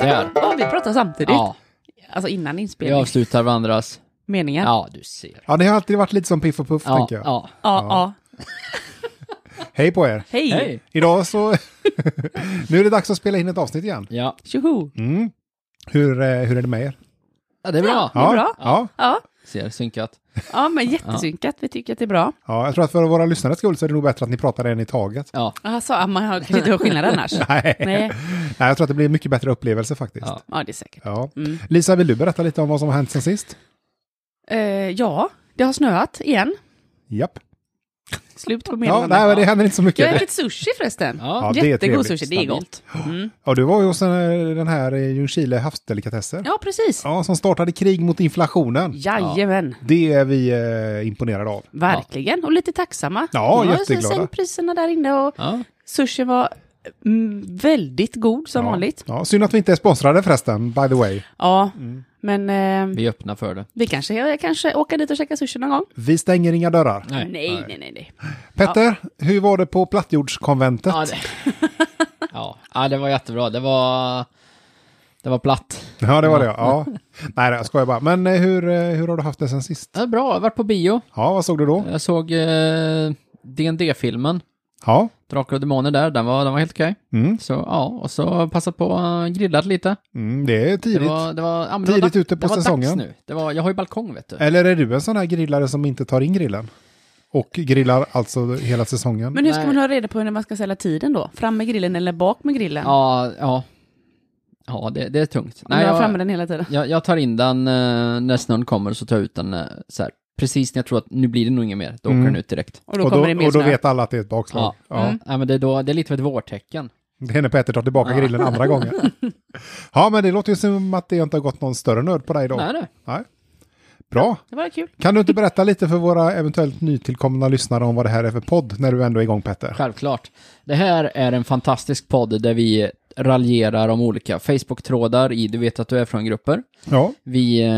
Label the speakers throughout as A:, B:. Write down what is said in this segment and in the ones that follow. A: Där.
B: Ja, vi pratar samtidigt.
A: Ja,
B: Alltså innan
A: vi
B: inspelning.
A: avslutar varandras.
B: Meningar.
A: Ja, du ser.
C: Ja, ni har alltid varit lite som Piff och Puff,
A: Ja,
C: tänker jag.
A: ja.
B: ja. ja.
C: Hej på er!
B: Hej!
A: Hej.
C: Idag så... nu är det dags att spela in ett avsnitt igen.
A: Ja.
B: Tjoho!
C: Mm. Hur, eh, hur är det med er?
A: ja, det är bra.
B: Ja. bra.
C: Ja.
B: Ja.
A: Ser, synkat.
B: ja, men jättesynkat. Vi tycker att det är bra.
C: ja, jag tror att för våra lyssnares skull så är det nog bättre att ni pratar en i taget.
A: Ja,
B: Alltså, ja, man har- kan inte höra skillnad annars.
C: Nej.
B: Nej.
C: Nej, jag tror att det blir en mycket bättre upplevelse faktiskt.
A: Ja.
C: Ja.
B: Ja, det är säkert. Mm.
C: Lisa, vill du berätta lite om vad som har hänt sen sist?
B: Eh, ja, det har snöat igen.
C: Japp.
B: Slut på
C: Ja,
B: meddelandet.
C: nej, men det händer inte så
B: Jag har
C: mycket.
B: ätit sushi förresten.
A: ja.
C: det är
B: Jättegod
C: trevligt.
B: sushi, det är gott. Mm.
C: Ja, du var ju hos eh, den här eh, Ljungskile havsdelikatesser.
B: Ja, precis.
C: Ja, som startade krig mot inflationen.
B: Jajamän,
C: Det är vi eh, imponerade av.
B: verkligen. Och lite tacksamma.
C: Ja,
B: De har ju
C: jätteglada.
B: sänkt priserna där inne och
A: ja.
B: sushi var mm, väldigt god som
C: ja.
B: vanligt.
C: Ja, synd att vi inte är sponsrade förresten, by the way.
B: Ja,
C: Mm.
B: men eh,
A: Vi öppnar för det.
B: vi kanske, jag kanske åker dit och käkar sushi någon gång.
C: Vi stänger inga dörrar.
A: Nej.
B: Nej, nej, nej. nej,
C: Petter, hur var det på Plattjordskonventet?
A: Ja, det, ja. ja, det var jättebra. Det var... Det var platt.
C: Ja, det var det. Ja. Nej, jag skojar bara. Men eh, hur, eh, hur har du haft det sen sist?
A: Ja, bra, jag har varit på bio.
C: Ja, vad såg du då?
A: Jag såg eh, dd filmen
C: Ja,
A: Drakar och Demoner där, den var, den var helt okej.
C: mm.
A: Så ja, och så passat på eh, grillat lite.
C: Mm, det är
A: Det
C: tidigt.
A: var, det var, ja, men det var
C: Tidigt
A: dags-
C: ute på
A: det var dags
C: säsongen.
A: Nu. Det var, jag har ju balkong vet du.
C: Eller är du en sån här grillare som inte tar in grillen? Och grillar alltså hela säsongen?
B: Men hur ska
A: Nej.
B: man ha reda på när man ska sälja tiden då? Fram med grillen eller bak med grillen?
A: Ja, ja. Ja, det, det är tungt.
B: Om jag har fram
A: jag,
B: med den hela tiden.
A: jag, jag tar in den eh, när snön kommer så tar jag ut den eh, så här. Precis när jag tror att nu blir det nog inget mer, då åker
C: Mm.
A: den ut direkt.
B: Och då
C: och,
B: kommer det
C: då,
B: mer
C: och då
B: snö.
C: vet alla att det är ett bakslag. Ja.
A: Ja. Mm.
B: Mm.
A: ja, men det är, då, det är lite av ett vårtecken.
C: Det är när Petter tar tillbaka grillen andra gången. Ja, men det låter ju som att det inte har gått någon större nöd på dig då.
A: Nej, nej.
C: Bra.
B: Det var kul.
C: Kan du inte berätta lite för våra eventuellt nytillkomna lyssnare om vad det här är för podd när du ändå är igång Petter?
A: Självklart. Det här är en fantastisk podd där vi raljerar om olika Facebook-trådar i Du vet att du är från-grupper.
C: Ja,
A: Vi, eh,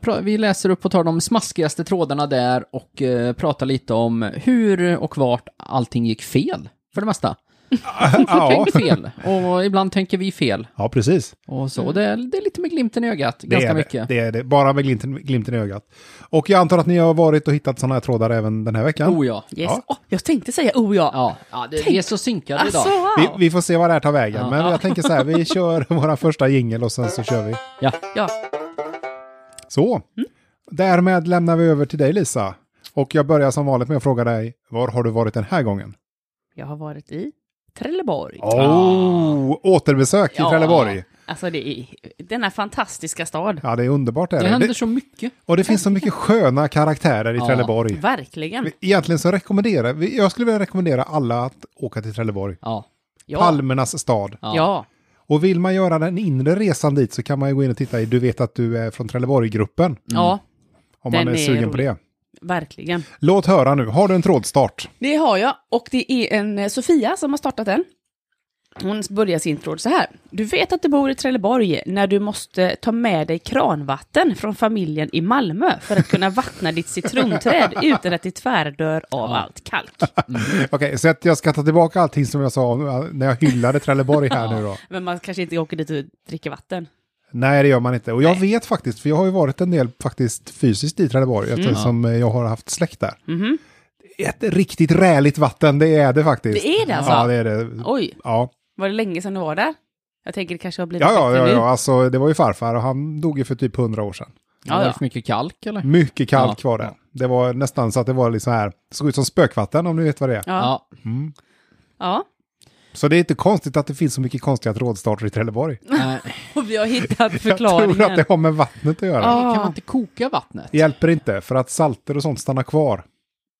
A: pra- vi läser upp och tar de smaskigaste trådarna där och eh, pratar lite om hur och vart allting gick fel, för det mesta.
C: ja.
A: Tänk fel, Mm. och ibland tänker vi fel.
C: ja precis.
A: Och så, det, är, det är lite med glimten i ögat,
C: Det
A: ganska
C: är det.
A: mycket.
C: Det är det. Bara med glimten, glimten i ögat. Och jag antar att ni har varit och hittat sådana här trådar även den här veckan.
A: Oh ja.
B: Yes.
C: Ja.
B: Åh, jag tänkte säga oh ja.
A: Ja, ja det, vi är så synkade
B: Alltså,
A: idag.
B: wow.
C: vi, vi får se vad det här tar vägen.
A: Ja.
C: Men jag tänker så här, vi kör vår första jingel och sen så kör vi.
A: Ja.
B: Ja.
C: Så.
A: Mm.
C: Därmed lämnar vi över till dig Lisa. Och jag börjar som vanligt med att fråga dig, var har du varit den här gången?
B: Jag har varit i Trelleborg.
A: Ah.
C: Oh, återbesök
B: Ja.
C: i Trelleborg.
B: Alltså det är denna fantastiska stad.
C: Ja, det är underbart. Är
A: Det
C: det.
A: händer
C: Det,
A: så mycket.
C: och det finns så mycket sköna karaktärer i
A: Ja.
C: Trelleborg.
B: Verkligen.
C: Egentligen så rekommenderar vi- jag skulle vilja rekommendera alla att åka till Trelleborg.
A: Ja.
B: Ja.
C: Palmernas stad.
A: Ja.
B: Ja.
C: Och vill man göra den inre resan dit så kan man ju gå in och titta i Du vet att du är från Trelleborg-gruppen.
B: ja,
C: Om
B: Den
C: man är
B: är
C: sugen
B: rolig.
C: på det.
B: verkligen.
C: Låt höra nu, har du en trådstart?
B: Det har jag. Och det är en eh, Sofia som har startat den. Hon börjar sin tråd så här. Du vet att du bor i Trelleborg när du måste ta med dig kranvatten från familjen i Malmö för att kunna vattna ditt citronträd utan att det tvärdör av allt kalk.
C: Okej, så att jag ska ta tillbaka allting som jag sa om- eh, när jag hyllade Trelleborg här nu då.
B: Men man kanske inte åker dit och dricker vatten.
C: Nej, det gör man inte. Och jag vet faktiskt, för jag har ju varit en del faktiskt fysiskt i Trelleborg
B: Mm.
C: eftersom eh, jag har haft släkt där.
B: Mhm.
C: Det är Ett riktigt räligt vatten, det är det faktiskt.
B: Det är det alltså?
C: Ja, det är det.
B: Oj,
C: Ja.
B: var det länge sedan du var där? Jag tänker det kanske har blivit
C: Ja, ja,
B: bättre
C: ja,
B: nu.
C: ja, alltså det var ju farfar och han dog ju för typ hundra år sedan.
A: Det var
B: Ja, ja.
A: för mycket kalk eller?
C: Mycket kalk
A: Ja.
C: var det. Det var nästan så att det var liksom här, det såg ut som spökvatten om ni vet vad det är.
B: Ja.
A: Ja.
B: ja.
C: Så det är inte konstigt att det finns så mycket konstiga trådstarter i Trelleborg.
A: Nej.
B: Och vi har hittat
C: Jag tror att
B: förklaringen.
C: det har med vattnet att göra.
B: Ja.
A: Kan man inte koka vattnet?
C: Det hjälper inte, för att salter och sånt stannar kvar.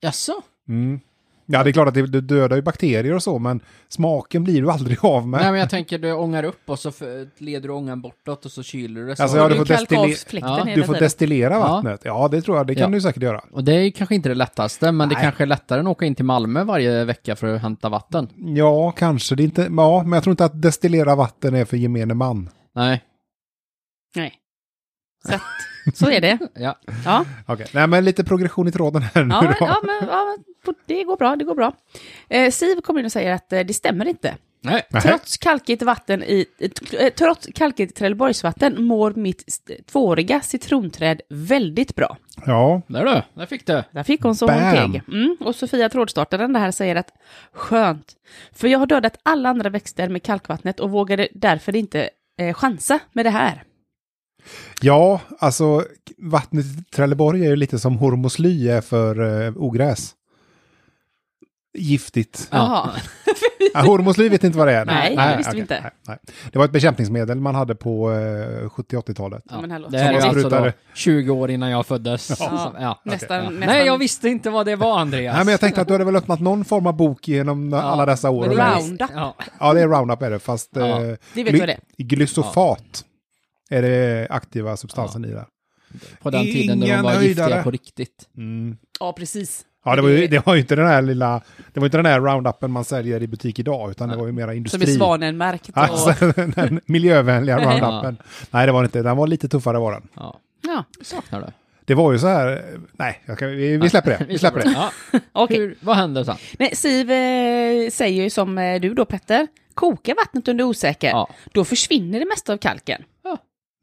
A: Jaså?
C: Mm. Ja, det är klart att det, det dödar ju bakterier och så, men smaken blir du aldrig av med.
A: Nej men jag tänker du ångar upp och så f- leder du ångan bortåt och så kyler du det. Så.
C: Alltså, ja,
B: du
C: du får
B: kalkar av
C: destille-
B: fläkten
A: Ja.
B: hela
C: du får
B: tiden.
C: destillera
A: Ja.
C: vattnet. Ja, det tror jag, det kan
A: Ja.
C: du säkert göra.
A: Och det är ju kanske inte det lättaste, men det
C: Nej.
A: kanske är lättare än att åka in till Malmö varje vecka för att hämta vatten.
C: Ja, kanske det är inte, ja, men jag tror inte att destillera vatten är för gemene man.
A: Nej,
B: Nej. Så, att, så är det.
A: ja.
B: Ja,
C: Okej, nej men lite progression i tråden här nu
B: ja, men,
C: då.
B: ja, men, ja men, det går bra, det går bra. Eh, Siv kommer in och säger att eh, det stämmer inte.
A: Nej.
C: Nej.
B: Trots kalkigt vatten i, eh, trots kalkigt Trelleborgsvatten mår mitt st- tvååriga citronträd väldigt bra.
C: Ja,
A: Där du, där fick du.
B: Där fick hon som hon
C: Bam.
B: teg. Mm, och Sofia Trådstartaren det här säger att skönt, för jag har dödat alla andra växter med kalkvattnet och vågade därför inte eh, chansa med det här.
C: ja alltså vattnet i Trelleborg är ju lite som hormosly är för eh, ogräs. Giftigt.
A: Ja.
B: Jaha.
C: Ja, hormosly vet inte vad det är.
B: Nej, det visste vi
C: okej.
B: inte.
C: Nej, nej. Det var ett bekämpningsmedel man hade på eh, 70-80-talet.
A: Ja.
B: Men hallå.
A: Det här är
C: Som
A: ju
C: man
A: alltså då
C: sprutade.
A: 20 år innan jag föddes.
B: Ja. Nästan, nästan.
A: Nej, jag visste inte vad det var, Andreas.
C: Nej, men jag tänkte att du hade väl öppnat någon form av bok genom alla dessa år.
B: men det
C: och läst.
B: är- Roundup.
A: Ja.
C: Ja, det är Roundup är det, fast
A: Ja,
C: eh,
B: det vet vi vad det
C: glysofat är det aktiva substansen i det.
A: På den tiden när de
C: Ingen
A: var giftiga
C: höjdare. Mm.
A: på riktigt.
B: Ja, precis.
C: Ja, det var ju det var ju inte den här lilla, det var inte den här Roundupen man säljer i butik idag, utan det var ju mera
B: Som är
C: industri.
B: svanenmärkt. Och...
C: Alltså, den miljövänliga Roundupen. Nej, det var det inte. Den var lite tuffare var den.
A: Ja.
B: Ja,
A: Saknar du?
C: Det var ju så här, eh, nej, jag kan, vi, vi släpper det. Vi släpper det.
A: Ja.
B: okej.
A: Hur, vad händer sen?
B: Nej, Siv eh, säger ju som eh, du då Petter, koka vattnet under osäker.
A: Ja.
B: Då försvinner det mesta av kalken.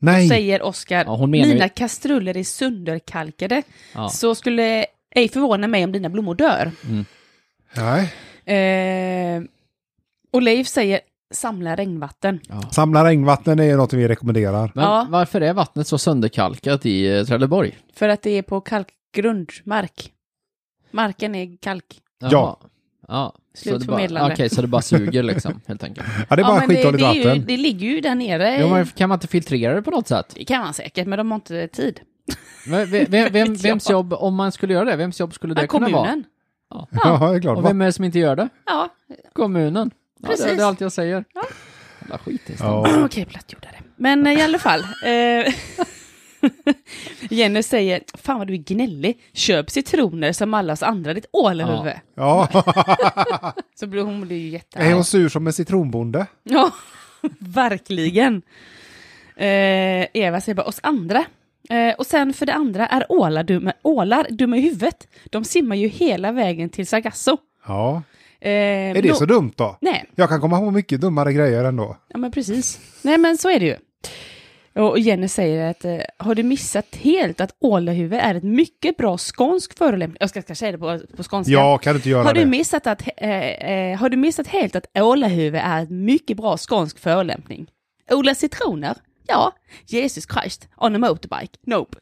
C: Nej,
B: Säger Oskar,
A: Ja, hon menar ju-
B: mina kastruller är sönderkalkade.
A: Ja.
B: Så skulle ej förvåna mig om dina blommor dör.
C: nej.
B: Eh, och Leif säger, samla regnvatten.
C: Samla regnvatten är ju något vi rekommenderar.
A: Men
B: Ja.
A: varför är vattnet så sönderkalkat i eh, Trelleborg?
B: För att det är på kalkgrundmark. Marken är kalk.
A: Jaha.
C: Ja.
A: ja. Så
B: Slut
A: det bara-
B: förmedlande.
A: Okej, så det bara suger liksom, helt enkelt.
C: Ja, det är bara
B: men det,
C: skitdåligt
B: det, är ju,
C: vatten.
B: det ligger ju där nere.
A: Jo, men kan man inte filtrera det på något sätt?
B: Det kan man säkert, men de har inte tid.
A: Vem, vem, vem,
B: Vet jag.
A: vems jobb, om man skulle göra det, vems jobb skulle det
B: Ja,
A: kunna vara?
B: kommunen.
C: Ja, det är klart.
A: Och vem är det som inte gör det?
B: Ja,
A: Kommunen. Ja, det,
B: Precis.
A: det är allt jag säger. Ja. Jävla skit i stan.
C: Ja.
B: Ah, Okej, plattjordare. Men eh, i alla fall. Eh, Jenny säger, fan vad du är gnällig, köp citroner som alla oss andra, ditt ålhuvud.
C: ja.
B: Så blir hon blir ju
C: Är hon
B: jättearg.
C: sur som en citronbonde?
B: Ja, verkligen. Eh, Eva säger bara, oss andra. Eh, och sen för det andra är ålar dumma, ålar dumma i huvudet. De simmar ju hela vägen till Sargasso.
C: Ja.
B: Eh,
C: Är det så dumt då?
B: Nej,
C: Jag kan komma på mycket dummare grejer ändå.
B: Ja, men precis. Nej, men så är det ju. Och Jenny säger att eh, har du missat helt att ålahuvud är ett mycket bra skånsk förolämpning? Jag ska, ska säga det på, på skånska.
C: Ja, kan du inte göra
B: har, du
C: det?
B: missat att, eh, eh, har du missat helt att ålahuvud är ett mycket bra skånsk förolämpning? Odla citroner? Ja. Jesus Christ. On a motorbike? Nope.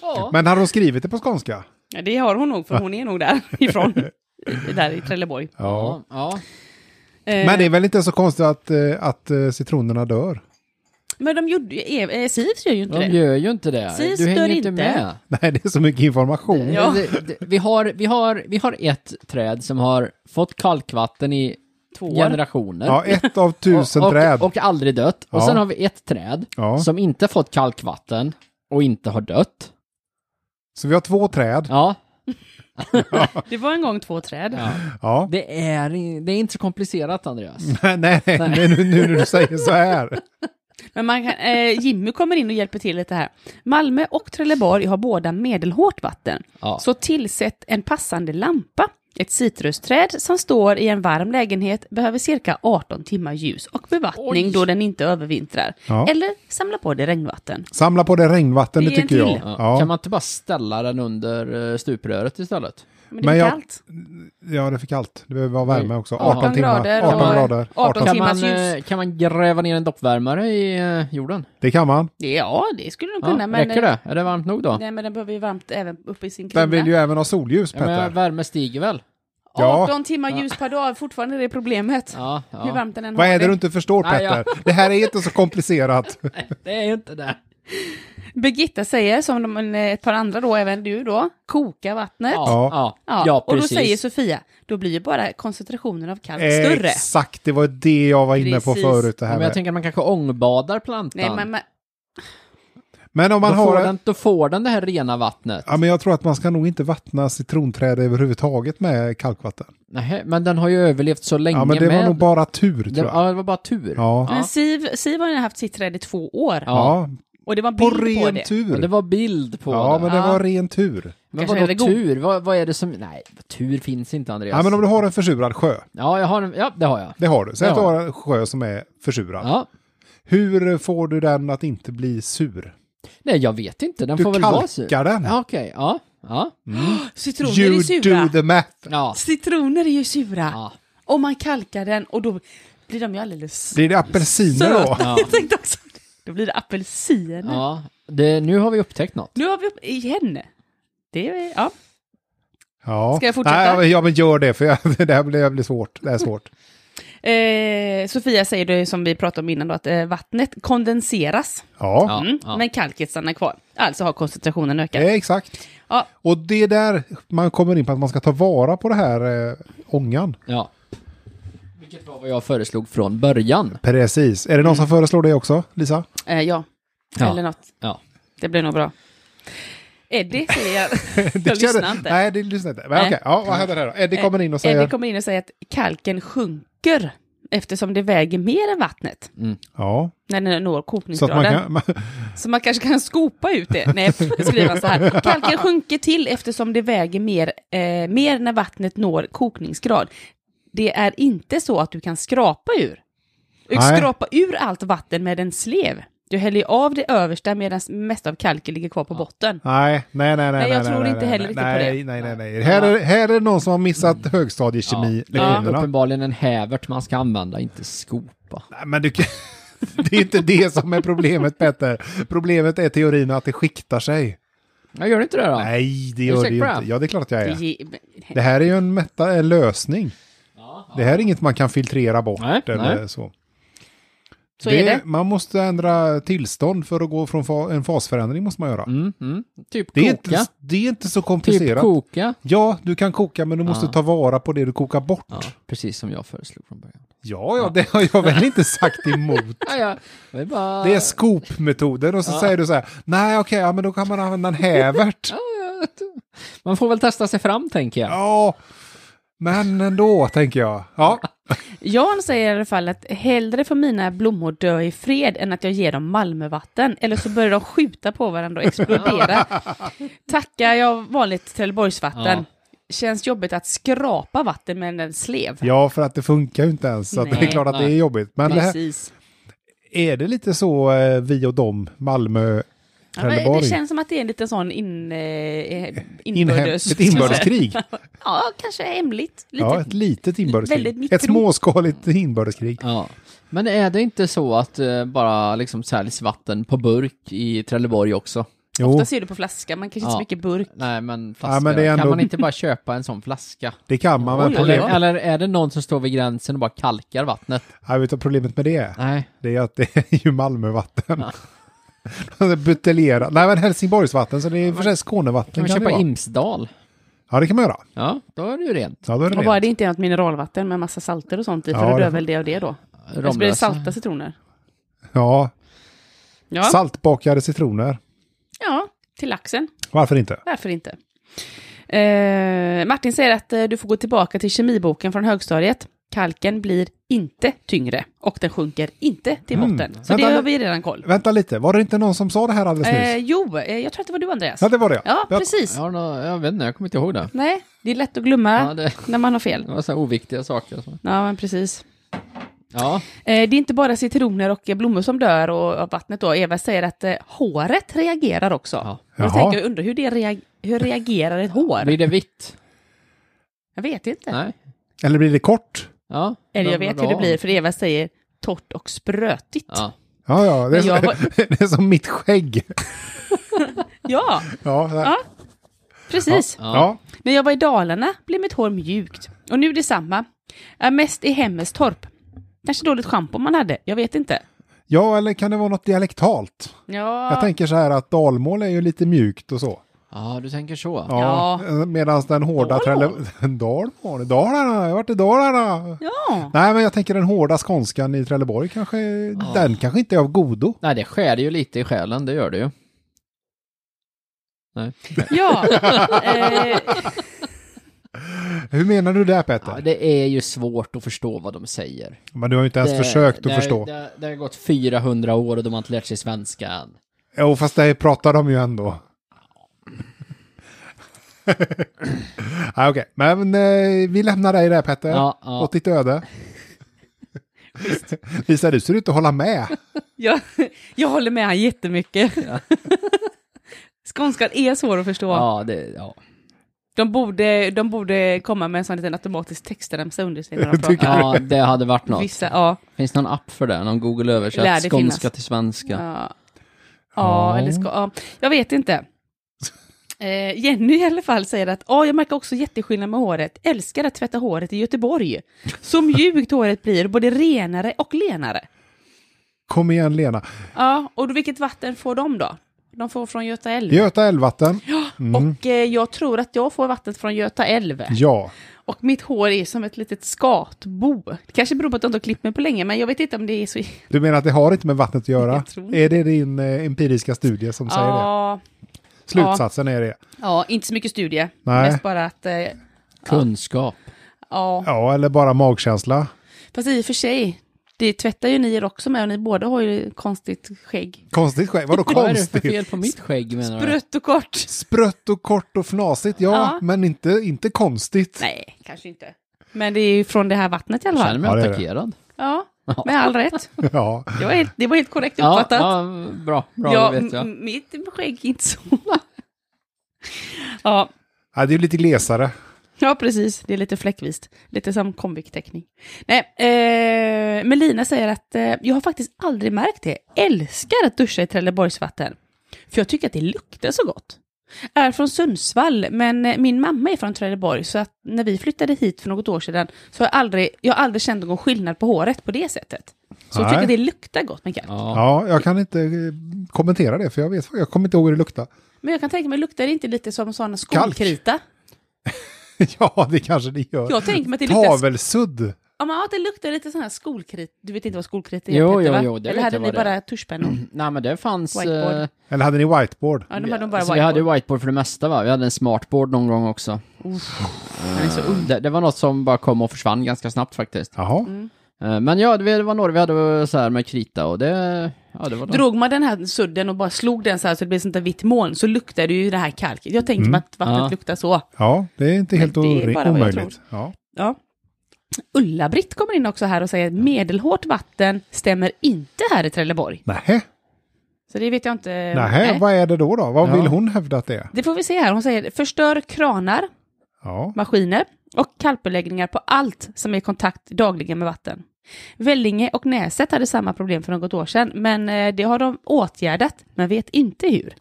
B: ja.
C: Men hade hon skrivit det på skånska?
B: Ja, det har hon nog, för hon är nog därifrån. där i Trelleborg.
A: Ja. ja.
B: Eh,
C: Men det är väl inte så konstigt att, eh, att eh, citronerna dör?
B: men de gjorde ju, eh, Sivs gör ju inte
A: De
B: det.
A: gör ju inte det.
B: Precis,
A: du hänger
B: dör
A: ju
B: inte.
A: inte med.
C: Nej, det är så mycket information.
B: Ja.
A: Det, det, vi, har, vi, har, vi har ett träd som har fått kalkvatten i
B: Två år.
A: generationer.
C: Ja, ett av tusen
A: och,
C: träd.
A: Och, och aldrig dött. Och
C: Ja.
A: sen har vi ett träd
C: Ja.
A: som inte fått kalkvatten och inte har dött.
C: Så vi har två träd.
A: Ja,
B: Det var en gång två träd.
C: Ja.
A: det är, i- det är inte så komplicerat Andreas.
C: Nej, nej, nej. Nu, nu när du säger så här.
B: Men man kan, eh, Jimmy kommer in och hjälper till lite här. Malmö och Trelleborg har båda medelhårt vatten.
A: Ja.
B: Så tillsätt en passande lampa. Ett citrusträd som står i en varm lägenhet behöver cirka 18 timmar ljus och bevattning
A: Oj.
B: då den inte övervintrar.
C: Ja.
B: Eller samla på det regnvatten.
C: Samla på det regnvatten, det
B: Det är en
C: tycker jag.
B: till.
A: Ja. Kan
C: Ja.
A: man inte bara ställa den under eh, stupröret istället?
B: Men det
C: Men
B: är
C: jag-
B: kallt.
C: ja, det fick allt. Det behöver vara värme också. 18,
B: 18
C: timmar.
B: grader
C: 18
B: och-
C: grader.
B: 18
C: 18.
A: Kan man,
B: timmars ljus.
A: eh, kan man gräva ner en doppvärmare i eh, jorden?
C: Det kan man.
B: Det- Ja, det skulle de
A: Ja,
B: kunna. men, eh,
A: räcker det? Är det varmt nog då?
B: Nej, men den behöver ju varmt även uppe i sin
C: Den vill
B: krona.
C: ju även ha solljus,
A: Ja, men
C: Petter.
A: värme stiger väl?
B: 18 timmar ljus per dag, fortfarande är det problemet.
A: Ja, ja.
B: Hur varmt den än
C: Vad
B: har
C: är det du inte förstår,
A: Nej,
C: Petter? Det här är inte så komplicerat.
A: Det är ju inte det.
B: Birgitta säger, som de, eh, ett par andra då, även du då, koka vattnet.
A: Ja,
C: Ja.
A: ja.
B: Ja,
A: ja.
B: och då
A: precis.
B: säger Sofia, då blir ju bara koncentrationen av kalk större.
C: Exakt, det var det jag var inne på
B: Precis.
C: förut. Det
A: Ja,
C: här
A: men jag
C: med.
A: tänker att man kanske ångbadar plantan.
B: Nej, men, men,
C: men om man
A: då, får
C: har...
A: den, då får den det här rena vattnet.
C: Ja, men jag tror att man ska nog inte vattna citronträd överhuvudtaget med kalkvatten.
A: Nej, men den har ju överlevt så länge
C: Ja, men det
A: med...
C: var nog bara tur,
A: det,
C: tror
A: ja,
C: jag.
A: det var bara tur.
C: Ja.
B: men Siv, Siv har ju haft sitt träd i två år.
A: Ja.
C: Ja,
B: Och det var en
C: på
B: bild på,
C: ren
B: det.
A: Men
C: tur.
A: det var bild på
C: Ja,
A: det.
C: men det var ren tur.
A: Men
B: Kanske
A: vadå
B: är det god.
A: tur? Vad, vad är det som... Nej, tur finns inte Andreas.
C: Ja, men om du har en försurad sjö,
A: Ja, jag har en... Ja, det har jag.
C: det har du. Säg
A: Det
C: att du
A: har
C: har en sjö som är försurad.
A: Ja.
C: Hur får du den att inte bli sur?
A: Nej, jag vet inte. Den
C: Du
A: får väl vara sur.
C: kalkar den.
A: Ja, Okej, ja. Ja.
B: Citroner är
C: You
B: sura.
C: do the math.
A: Ja.
B: Citroner är ju sura.
A: Ja.
B: Och man kalkar den och då blir de ju alldeles
C: Blir det apelsiner då?
B: söta. Jag tänkte också det. Då blir det apelsiner.
A: ja. Det, nu har vi upptäckt något.
B: Nu har vi upp igen. Det är, ja.
C: Ja.
B: Ska jag fortsätta?
C: Nej, ja, men- ja, men gör det, för jag, det här blir, det här blir svårt. Det här är svårt.
B: eh, Sofia säger det som vi pratade om innan då, att eh, vattnet kondenseras.
C: Ja,
A: Ja,
B: Mm,
A: ja.
B: Men kalket stannar kvar. Alltså har koncentrationen ökat.
C: det är exakt.
B: Ja.
C: Och det är där man kommer in på att man ska ta vara på det här eh, ångan.
A: ja. Vilket var vad jag föreslog från början.
C: Precis. Är det någon som
B: Mm.
C: föreslår det också, Lisa?
B: Eh, ja.
A: Ja.
B: eller något.
A: Ja.
B: Det blir nog bra. Eddie säger jag.
C: Det
B: jag lyssnar
C: känner-
B: inte.
C: Nej, det lyssnar inte. Men
B: Nej.
C: okej, ja, vad händer här då? Eddie
B: Eh,
C: kommer in och säger...
B: Eddie kommer in och säger att kalken sjunker eftersom det väger mer än vattnet
A: Mm.
C: Ja,
B: när den når
C: så att man
B: kokningsgraden.
C: kan...
B: Så man kanske kan skopa ut det. Nej, skriver han så här. Kalken sjunker till eftersom det väger mer, eh, mer när vattnet når kokningsgrad. Det är inte så att du kan skrapa ur. Du
C: Nej.
B: skrapa ur allt vatten med en slev. Du häller ju av det översta medan mest av kalken ligger kvar på botten.
C: Nej, nej, nej, nej.
B: jag
C: nej,
B: tror
C: nej,
B: inte
C: nej,
B: heller
C: nej,
B: riktigt på
C: nej,
B: det. Mm.
C: Nej, nej, nej. Här är, här är någon som har missat högstadiekemi.
A: Ja. Det är
C: lektionerna.
A: uppenbarligen en hävert man ska använda, inte skopa.
C: Nej, men du kan... Det är inte det som är problemet, Petter. Problemet är teorin att det skiktar sig.
A: Jag gör inte det då?
C: Nej,
A: Är
C: det
A: du
C: gör det
A: säker
C: ju
A: på det?
C: inte. Ja, det är klart att jag är.
B: Ge-
C: Det här är ju en, meta, en lösning. Det här är inget man kan filtrera bort
A: Nej,
C: eller
A: nej.
C: så.
B: Så är det.
C: Man måste ändra tillstånd för att gå från fa, en fasförändring måste man göra.
A: Mm, mm. Typ
C: Det, är
A: koka.
C: inte, det är inte så
A: typ
C: komplicerat.
A: koka.
C: Ja, du kan koka men du måste
A: Ja.
C: ta vara på det du kokar bort.
A: Ja, precis som jag föreslog från början.
C: Ja, ja, det har jag väl inte sagt emot.
A: Ja, ja. Det är bara...
C: Det är skopmetoden och så säger du så här, nej okej, ja, men då kan man använda en hävert.
A: Ja, ja. Man får väl testa sig fram, tänker jag.
C: Ja, men ändå tänker jag. Ja,
B: Jan säger i alla fall att hellre får mina blommor dö i fred än att jag ger dem Malmövatten, eller så börjar de skjuta på varandra och explodera. Tackar jag vanligt Trelleborgsvatten. Känns jobbigt att skrapa vatten med en slev.
C: ja för att det funkar ju inte ens. Så att det är
B: Nej.
C: klart att det är
A: Nej.
C: jobbigt. Men det här,
B: Precis.
C: är det lite så eh, vi och dem, Malmö,
B: Ja, men det
C: Trelleborg?
B: känns som att det är en liten sån in, eh,
C: Inhem-
B: inbördes...
C: ett inbördeskrig.
B: Ja, kanske hemligt. Lite.
C: Ja, ett litet
B: Väldigt
C: inbördeskrig.
B: mikro.
C: Ett småskaligt inbördeskrig.
A: Ja. Men är det inte så att eh, bara liksom säljs vatten på burk i Trelleborg också?
C: Jo,
B: Ofta ser du på flaska, man kanske inte
A: Ja.
B: så mycket burk.
A: Nej, men flaska.
C: Ja, men det är
A: Kan
C: ändå-
A: man inte bara köpa en sån flaska?
C: det kan man. Men
B: Oj, oj,
C: problem,
A: Eller, eller är det någon som står vid gränsen och bara kalkar vattnet?
C: Ja, vet du vad problemet med det är?
A: Nej.
C: Det är att det är ju Malmövatten. Buteljera. Nej men Helsingborgsvatten, så det är i och för sig Skånevatten.
A: Kan man
C: kan det
A: köpa
C: vara.
A: Imsdal?
C: Ja det kan man göra.
A: Ja, då är det ju rent.
C: Ja, då är det
B: Och bara
C: rent.
B: det inte är något mineralvatten med massa salter och sånt i, för
C: Ja,
B: då
C: det-
B: dör väl det av det då. Eller så blir det
A: Romlösa.
B: salta citroner.
C: Ja,
B: Ja.
C: saltbakade citroner.
B: Ja, till laxen.
C: Varför inte?
B: Varför inte? Eh, Martin säger att eh, du får gå tillbaka till kemiboken från högstadiet. Kalken blir inte tyngre och den sjunker inte till botten. Så
C: Vänta,
B: det har
C: men-
B: vi redan koll.
C: Vänta lite, var det inte någon som sa det här alldeles nyss?
B: Eh, jo, eh, jag tror att det var du Andreas.
C: ja, det var det.
B: Ja,
C: Jag-
B: precis.
A: Jag, har nå- jag vet inte, jag kommer inte ihåg det.
B: Nej, det är lätt att glömma
A: Ja, det,
B: när man har fel.
A: det var så här oviktiga saker. alltså.
B: Ja, men precis.
A: Ja,
B: Eh, det är inte bara citroner och eh, blommor som dör och, av vattnet då. Eva säger att eh, håret reagerar också.
A: Ja.
B: Jag
C: Jaha.
B: tänker, jag undrar hur, det reag- hur reagerar ett hår?
A: blir det vitt?
B: Jag vet inte.
A: Nej.
C: Eller blir det kort?
A: Ja.
B: Eller jag
A: Men
B: vet hur
A: bra.
B: det blir, för Eva säger torrt och sprötigt. Ja,
A: Ja.
C: Ja, ja, det är,
B: Men jag
C: så,
B: var-
C: det är som mitt skägg. Ja, ja.
B: Ja. precis.
A: Ja.
C: ja.
B: När jag var i Dalarna blev mitt hår mjukt. Och nu detsamma. Är mest i Hemmestorp. Kanske dåligt schampo man hade, jag vet inte.
C: ja, eller kan det vara något dialektalt?
B: Ja,
C: Jag tänker så här att dalmål är ju lite mjukt och så.
A: ja, du tänker så.
C: Ja. Medan den hårda...
B: Dalmål.
C: Trelle- Dalmål? Dalarna, jag har varit i Dalarna.
B: ja.
C: Nej, men jag tänker den hårda skånskan i Trelleborg kanske, den kanske inte är av godo.
A: Nej, det skär ju lite i själen, det gör det ju. Nej.
B: ja. eh,
C: Hur menar du det Peter?
A: Ja, det är ju svårt att förstå vad de säger.
C: Men du har ju inte ens
A: det,
C: försökt att
A: det, har-
C: förstå.
A: Det, har- det har gått 400 år och de har inte lärt sig svenska än.
C: Jo, fast det pratar de ju ändå. ah, Okej, men eh, vi lämnar dig där Petter.
A: Ja, ja.
C: Åt ditt öde. Lisa, du ser ut att hålla med.
B: Jag, jag håller med han jättemycket. Skånskan är svår att förstå.
A: Ja, det, ja.
B: De, borde, de borde komma med en sån liten automatisk textremsa under sig när de pratar.
C: Tycker
A: ja, det hade varit något.
B: Vissa, ja.
A: Finns det någon app för det? Någon Google
B: Lär
A: översätt
B: det
A: skånska
B: finnas.
A: till svenska?
B: Ja, ja eller ska, ja. Jag vet inte. Eh, Jenny i alla fall säger att ja, jag märker också jätteskillnad med håret. Älskar att tvätta håret i Göteborg. Så mjukt håret blir, både renare och lenare.
C: Kom igen Lena.
B: Ja, och då, vilket vatten får de då? De får från Göta älv.
C: Göta älvvatten.
B: Och eh, jag tror att jag får vattnet från Göta älv.
C: Mm. Ja.
B: Och mitt hår är som ett litet skatbo. Det kanske beror på att jag inte har klippt mig på länge, men jag vet inte om det är så...
C: Du menar att det har inte med vattnet att göra?
B: Jag tror inte.
C: Är det din eh, empiriska studie som säger det?
B: Ja,
C: Slutsatsen är det.
B: ja, inte så mycket studie.
C: Nej.
B: Mest bara att... Eh,
A: Kunskap.
B: ja.
C: Ja, eller bara magkänsla.
B: Fast i och för sig, det tvättar ju ni er också med och ni båda har ju konstigt skägg.
C: Konstigt skämt. Vadå
A: Vad är det för
C: konstigt?
A: fel på mitt skägg menar du?
B: Brött och kort.
C: Sprött och kort och fnasigt, ja.
B: Ja.
C: Men inte, inte konstigt.
B: Nej, kanske inte. Men det är ju från det här vattnet i alla
A: Jag känner
B: fall.
C: Ja,
A: mig
C: det är det.
A: attackerad.
B: Ja, med all rätt.
C: Ja.
B: Det var helt, det var helt korrekt
A: Ja,
B: uppfattat.
A: ja, bra, bra
B: Ja,
A: det vet jag.
B: m- mitt skägg är inte så. ja,
C: ja, det är ju lite glesare.
B: ja, precis. Det är lite fläckvist. Lite som konviktäckning. Nej, eh, men Lina säger att eh, jag har faktiskt aldrig märkt det. Älskar att duscha i Trelleborgsvatten. För jag tycker att det luktar så gott. Är från Sundsvall, men eh, min mamma är från Trelleborg, så att när vi flyttade hit för något år sedan så har jag aldrig, jag har aldrig känt någon skillnad på håret på det sättet. Så jag
C: Nej.
B: tycker att det luktar gott, Mikael.
A: Ja.
C: Ja, jag kan inte eh, kommentera det för jag vet jag kommer inte ihåg hur det luktar.
B: Men jag kan tänka mig, luktar det inte lite som sån skolkrita?
C: ja, det kanske det gör.
B: Jag tänker mig att det luktar
C: Tavelsudd.
B: Ja, men ja, det luktar lite sån här skolkrit. Du vet inte vad skolkrit är?
A: Jo,
B: Peter,
A: jo,
B: va?
A: jo, det
B: Eller
A: vet
B: hade
A: jag
B: ni
A: vad det är.
B: bara tuschpennor?
A: Nej men det fanns...
B: Whiteboard.
A: eh,
C: Eller hade ni whiteboard?
B: Ja, de hade nog bara
A: alltså, vi hade
B: whiteboard.
A: ju whiteboard för det mesta va? Vi hade en smartboard någon gång också.
B: Den är så ung.
A: Det, det var något som bara kom och försvann ganska snabbt faktiskt.
C: Jaha.
B: Mm.
A: Eh, Men ja, det var några vi hade så här med krita och det... Ja, det var de.
B: Drog man den här sudden och bara slog den så här så det blev sånt där vitt moln så luktade ju det här kalket. Jag tänkte mig att vattnet
A: Ja.
B: luktar så.
C: Ja, det är inte helt
B: det är
C: ori-
B: bara vad jag
C: omöjligt. Ja.
B: Ja. Ulla-Britt kommer in också här och säger att medelhårt vatten stämmer inte här i Trelleborg.
C: Nähä,
B: Så det vet jag inte.
C: Nähä.
B: Eh, Nej.
C: vad är det då? då? Vad
A: Ja.
C: vill hon hävda att det är?
B: Det får vi se här. Hon säger förstör kranar,
C: Ja.
B: maskiner och kalkbeläggningar på allt som är i kontakt dagligen med vatten. Vellinge och Näset hade samma problem för något år sedan, men eh, det har de åtgärdat, men vet inte hur.
C: Nej,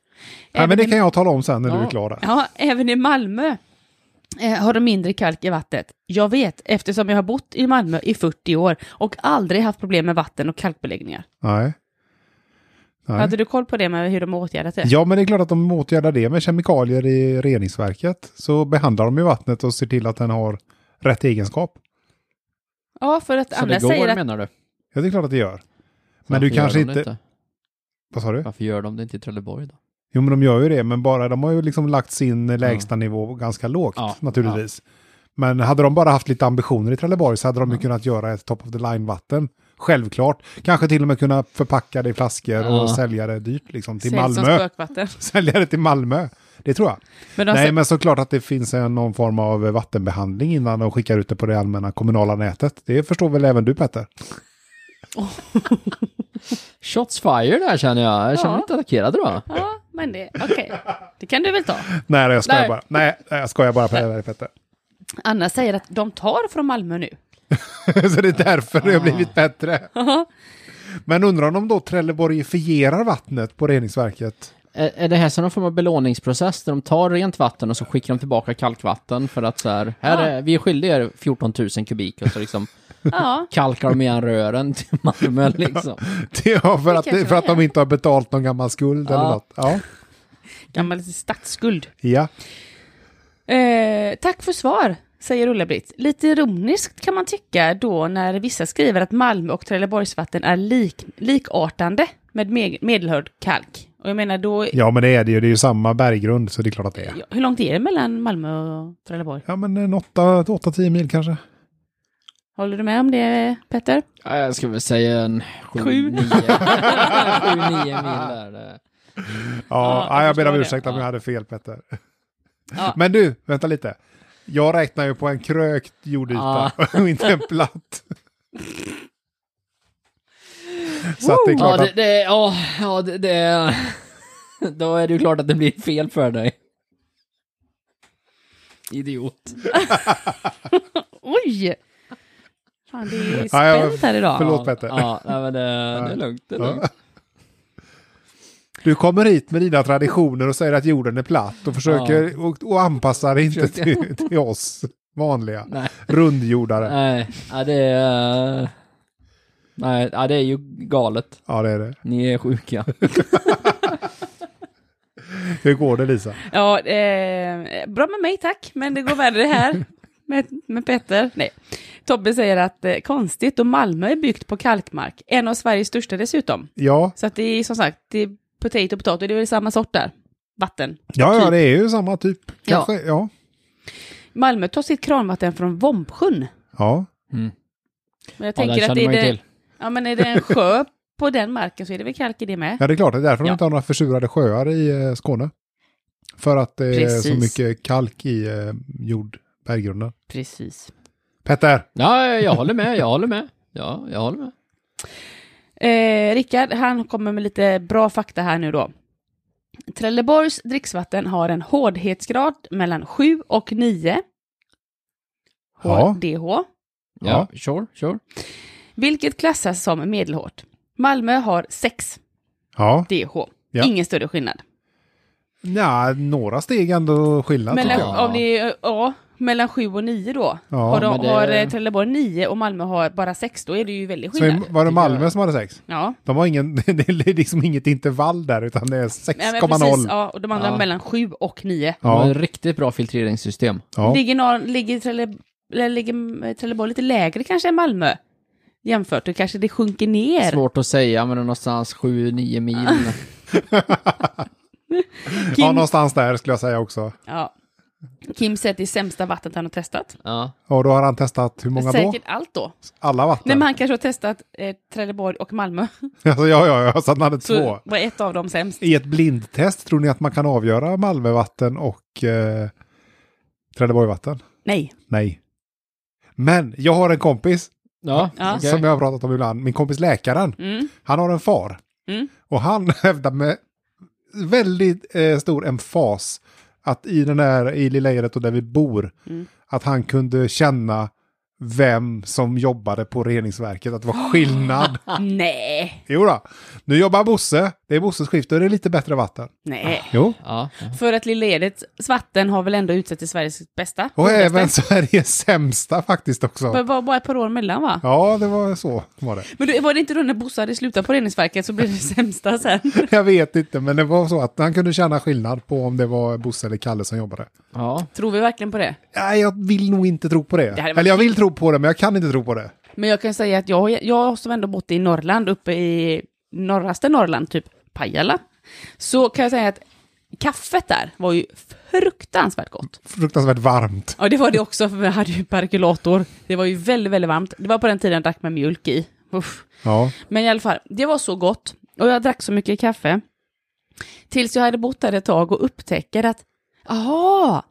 C: men
B: Även
C: det
B: i-
C: kan jag tala om sen när du är klar. Där.
B: Ja, även i Malmö eh, har de mindre kalk i vattnet. Jag vet, eftersom jag har bott i Malmö i 40 år och aldrig haft problem med vatten och kalkbeläggningar.
C: Nej. Nej.
B: Hade du koll på det med hur de har åtgärdat det?
C: Ja, men det är klart att de åtgärdar det med kemikalier i reningsverket. Så behandlar de ju vattnet och ser till att den har rätt egenskap.
B: Ja, för att
A: Så det
B: Anna säger
A: går
B: att...
A: menar du?
C: Ja, det är klart att det gör. Men
A: Varför
C: du
A: gör
C: kanske
A: de det
C: inte- Vad sa du?
A: Varför gör de det inte i Trelleborg då?
C: Jo, men de gör ju det, men bara de har ju liksom lagt sin lägsta nivå ganska lågt
A: Ja,
C: naturligtvis. Men hade de bara haft lite ambitioner i Trelleborg så hade de ju kunnat göra ett top of the line-vatten. Självklart. Kanske till och med kunna förpacka det i flaskor och
A: Ja.
C: sälja det dyrt liksom till
B: Säljs som
C: Malmö.
B: spökvatten.
C: Sälja det till Malmö. Det tror jag.
B: Men de
A: Alltså-
C: Nej,
B: sä-
C: men såklart att det finns en, någon form av vattenbehandling innan de skickar ut det på det allmänna kommunala nätet. Det förstår väl även du Petter?
A: Shots fire där känner jag. Jag känner mig inte
B: Ja.
A: attackerad då.
B: Ja, men det... Okej, det kan du väl ta.
C: Nej, jag skojar
B: Nej.
C: bara. Nej, jag skojar bara på det där Petter.
B: Anna säger att de tar från Malmö nu.
C: så det är därför det har blivit bättre. Men undrar om de då Trelleborgifierar vattnet på reningsverket?
A: Är, är det här som någon form av belåningsprocess där de tar rent vatten och så skickar de tillbaka kalkvatten för att så här, här är, vi är skyldiga er 14 000 kubik och så liksom
B: Ja,
A: kalkar de igen rören till Malmö liksom.
C: Det är för, att,
B: kanske
C: för att
B: de
C: de inte har betalt någon gammal skuld eller
A: Ja.
C: något. Ja.
B: gammal statsskuld.
C: ja.
B: Eh, tack för svar, säger Ulla-Britt. Lite ironiskt kan man tycka då när vissa skriver att Malmö och Trelleborgsvatten är lik, likartande med me- medelhörd kalk. Och jag menar då,
C: ja, men det är det ju. Det är ju samma berggrund, så det är klart att det är.
B: ja, hur långt är det mellan Malmö och Trelleborg?
C: Ja, men eh, en 8-10 mil kanske.
B: Håller du med om det, Petter?
A: Ja, Jag skulle väl säga en
B: Sju.
A: 7-9 mil där.
C: Ja, ja,
B: jag
C: jag ber
B: förstår
C: om
B: det.
C: ursäkt om
A: Ja.
C: jag hade fel, Petter.
B: Ja.
C: Men du, vänta lite. Jag räknar ju på en krökt jordyta och inte en platt. Så att det är
A: Ja,
C: klart
A: det,
C: att
A: det, ja, ja, det, det... Då är det ju klart att det blir fel för dig. Idiot.
B: Oj! Fan, det är
C: Ja, ja,
B: spänt här idag.
C: förlåt.
A: ja,
C: Petter.
A: Ja, nej, men det, det är lugnt. Det är lugnt.
C: Ja. Du kommer hit med dina traditioner och säger att jorden är platt och försöker och, och anpassar dig inte till, till oss vanliga
A: Nej.
C: rundjordare.
A: Nej, ja, det är... eh, Nej, ja, det är ju galet.
C: Ja, det är det.
A: Ni är sjuka.
C: Hur går det Lisa?
B: Ja, eh, bra med mig tack, men det går värre här med, med Petter. Nej. Tobbe säger att eh, konstigt, och Malmö är byggt på kalkmark. En av Sveriges största dessutom.
C: Ja,
B: Så att det är som sagt, det är potato och potatis, det är väl samma sort där. Vatten.
C: ja, ja
B: Typ.
C: det är ju samma typ. Kanske. Ja. Ja.
B: Malmö tar sitt kranvatten från Vombsjön.
C: ja.
B: Men jag
A: Ja, den
B: tänker
A: Mm. känner
B: att är
A: man ju
B: det,
A: till.
B: ja, men är det en sjö på den marken så är det väl kalk i det med.
C: det är klart. Det är därför de
B: Ja.
C: inte har några försurade sjöar i eh, Skåne. För att det är så
B: Precis.
C: mycket kalk i eh, jord, berggrunden.
B: Precis.
C: Petter!
A: Ja, jag håller med, jag håller med. Ja, jag håller med.
B: Eh, Rickard, han kommer med lite bra fakta här nu då. Trelleborgs dricksvatten har en hårdhetsgrad mellan 7 och 9
C: Ja.
B: DH,
A: Ja, sure, sure.
B: vilket klassas som medelhårt. Malmö har 6
C: Ja,
B: DH.
C: Ja.
B: Ingen större skillnad.
C: ja några steg ändå skillnad.
B: Mellan,
C: tror jag.
A: jag.
B: om det är, ja, mellan 7 och 9 då.
C: Ja,
B: har, de,
A: men det-
B: har eh, Trelleborg 9 och Malmö har bara 6, då är det ju väldigt
C: Så
B: skillnad.
C: är- var det Malmö som hade sex?
B: Ja.
C: De har ingen, det är liksom inget intervall där, utan det är
B: Ja, men precis,
C: 6,0.
B: ja, och de andra
A: Ja.
B: mellan 7 och 9.
A: Ja.
C: Ja,
A: ett riktigt bra filtreringssystem.
C: ja.
B: Ligger, norr, ligger, Trelle, eller ligger eh, Trelleborg lite lägre kanske än Malmö? Jämfört, då kanske det sjunker ner.
A: Svårt att säga, men någonstans 7-9 mil.
C: ja,
B: Kim,
C: någonstans där skulle jag säga också.
B: ja. Kim säger att det är sämsta vattnet han har testat.
A: Ja.
C: Och då har han testat hur många då?
B: Säkert allt då.
C: Alla vatten?
B: Nej, men han kanske har testat eh, Trelleborg och Malmö.
C: Alltså, ja, ja, ja, så han hade
B: Så
C: två.
B: var ett av dem sämst.
C: I ett blindtest, tror ni att man kan avgöra Malmövatten och eh, Trelleborgvatten?
B: Nej.
C: Nej. Men jag har en kompis
A: Ja,
B: Ja.
A: okej.
C: som jag har pratat om ibland, min kompis läkaren.
B: Mm.
C: Han har en far.
B: Mm.
C: Och han hävdar med väldigt eh, stor emfas att i den här, i Lilla Edet och där vi bor,
B: Mm.
C: att han kunde känna vem som jobbade på reningsverket, att det var skillnad.
B: Ah. Nej.
C: jo då. nu jobbar Bosse, det är Bosses skift och det är lite bättre vatten.
B: Nej.
C: Jo.
A: Ja.
B: För att Lilla Edets vatten har väl ändå utsett till Sveriges bästa.
C: Och
B: Bästa.
C: även Sveriges sämsta faktiskt
B: Det
C: också.
B: var bara ett par år mellan va?
C: Ja, det var så var det.
B: Men du, var det inte då när Bosse hade slutat på reningsverket så blev det sämsta sen?
C: Jag vet inte, men det var så att han kunde känna skillnad på om det var Bosse eller Kalle som jobbade.
A: ja.
B: Tror vi verkligen på det?
C: Nej, jag vill nog inte tro på det.
B: Det hade varit
C: Eller jag vill tro på det, men jag kan inte tro på det.
B: Men jag kan säga att jag, jag som ändå bott i Norrland, uppe i norraste Norrland, typ Pajala, så kan jag säga att kaffet där var ju fruktansvärt gott.
C: Fruktansvärt varmt.
B: Ja, det var det också, för vi hade ju perkulator. Det var ju väldigt, väldigt varmt. Det var på den tiden jag drack med mjölk i. Uff.
C: Ja.
B: Men i alla fall, det var så gott. Och jag drack så mycket kaffe. Tills jag hade bott där ett tag och upptäcker att, aha,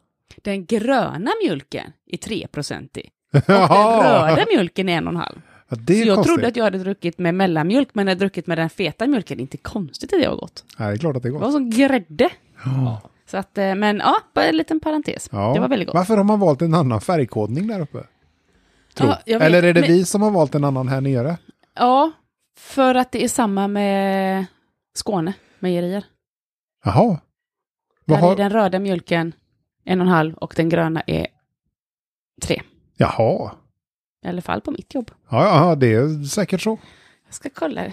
B: den gröna mjölken är 3-procentig. Och den röda mjölken är 1,5.
C: Ja, det är
B: Så jag
C: konstigt.
B: trodde att jag hade druckit med mellanmjölk, men när jag druckit med den feta mjölken, inte konstigt att det har gått.
C: Nej, det är klart att det är
B: Det
C: gott.
B: var som grädde.
C: Ja.
B: Så att, eh, men ja, bara en liten parentes. Det var väldigt gott.
C: Varför har man valt en annan färgkodning där uppe? Tro.
B: Ja, jag vet,
C: Eller är det
B: men-
C: vi som har valt en annan här nere?
B: Ja, för att det är samma med Skåne, mejerier.
C: Jaha.
B: Där
C: Vad
B: är
C: har...
B: den röda mjölken en och en halv och den gröna är tre.
C: Jaha.
B: I alla fall på mitt jobb.
C: Ja, ja, ja, det är säkert så.
B: Jag ska kolla.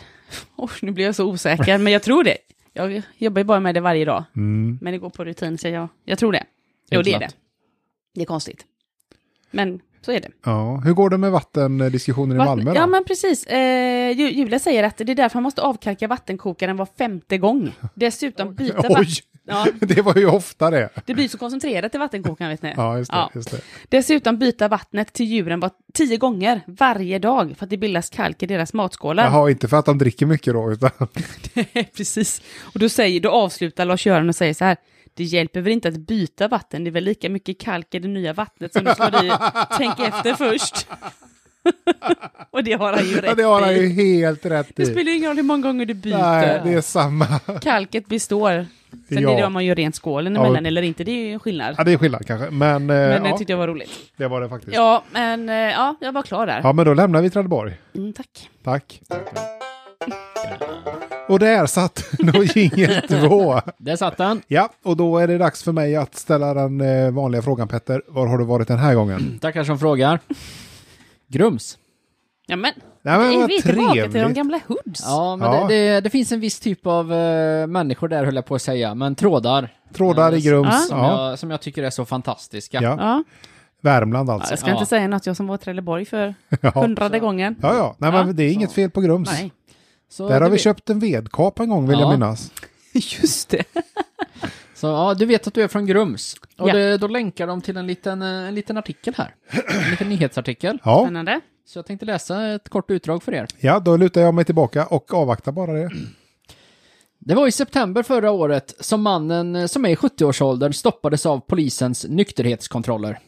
B: Oh, nu blir jag så osäker, men jag tror det. Jag jobbar ju bara med det varje dag,
C: Mm.
B: men det går på rutin, så jag, jag tror det. Jo, det är det. Det är konstigt. Men så är det.
C: Ja. Hur går det med vattendiskussionen i
B: Vatten-
C: Malmö då?
B: Ja, men precis. Eh, Ju- Julia säger att det är därför man måste avkalka vattenkokaren var femte gång. Dessutom byta vatten...
C: Oj,
B: Ja,
C: det var ju ofta det.
B: det blir så koncentrerat i vattenkokaren, vet ni.
C: Ja, just det.
B: Ja.
C: Just det.
B: Dessutom byta vattnet till djuren var tio gånger varje dag för att det bildas kalk i deras matskålar.
C: Jaha, inte för att de dricker mycket då, utan
B: precis. Och då, säger, då avslutar Lars-Göran och säger så här. Det hjälper väl inte att byta vatten, det är väl lika mycket kalk i det nya vattnet som du slår i. Tänk efter först. och det har han ju rätt
C: Ja, det har han
B: i.
C: ju helt rätt
B: Det
C: i.
B: spelar ingen roll hur många gånger du byter.
C: Nej, det är samma.
B: Kalket består. Sen
C: Ja.
B: är det om man gör rent skålen
C: Ja.
B: emellan eller inte, det är ju en skillnad.
C: Ja, det är skillnad kanske. Men, eh,
B: Men det
C: ja,
B: tyckte jag var roligt.
C: det var det faktiskt. Ja.
B: Ja, men eh, ja, jag var klar där.
C: men då lämnar vi Trelleborg.
B: Mm, tack.
C: Tack. Och där satt nog jingel två.
A: Där satt den.
C: Ja, och då är det dags för mig att ställa den eh, vanliga frågan Petter. Var har du varit den här
B: Mm.
C: gången?
A: Tackar som frågar. Grums.
B: Ja, men.
C: Nej, men
B: Är
C: vad
B: vi är tillbaka till de
C: trevligt.
B: gamla hoods?
A: Ja, men Det,
C: Ja.
A: det, det finns en viss typ av eh, människor där, höll jag på att säga, men trådar.
C: Trådar i Grums.
A: Som,
C: Ja.
A: jag, som jag tycker är så fantastiska.
C: Ja.
B: Ja.
C: Värmland
B: Ja,
C: alltså.
B: jag ska
A: Ja.
B: inte säga något, jag som var i Trelleborg för
C: Ja,
B: hundrade gången.
C: ja. ja. Nej,
B: Ja.
C: men det är inget fel på Grums.
B: Nej,
A: Så
C: Där har
A: du
C: vi
A: vet-
C: köpt en vedkap en gång vill
A: Ja.
C: jag minnas.
B: just det.
A: Så ja, du vet att du är från Grums. Och
B: Ja.
A: det, då länkar de till en liten, eh, en liten artikel här. En liten nyhetsartikel.
C: Ja.
B: Spännande.
A: Så jag tänkte läsa ett kort utdrag för er.
C: ja, då lutar jag mig tillbaka och avvaktar bara det.
A: Det var i september förra året som mannen eh, som är i 70-årsåldern stoppades av polisens nykterhetskontroller.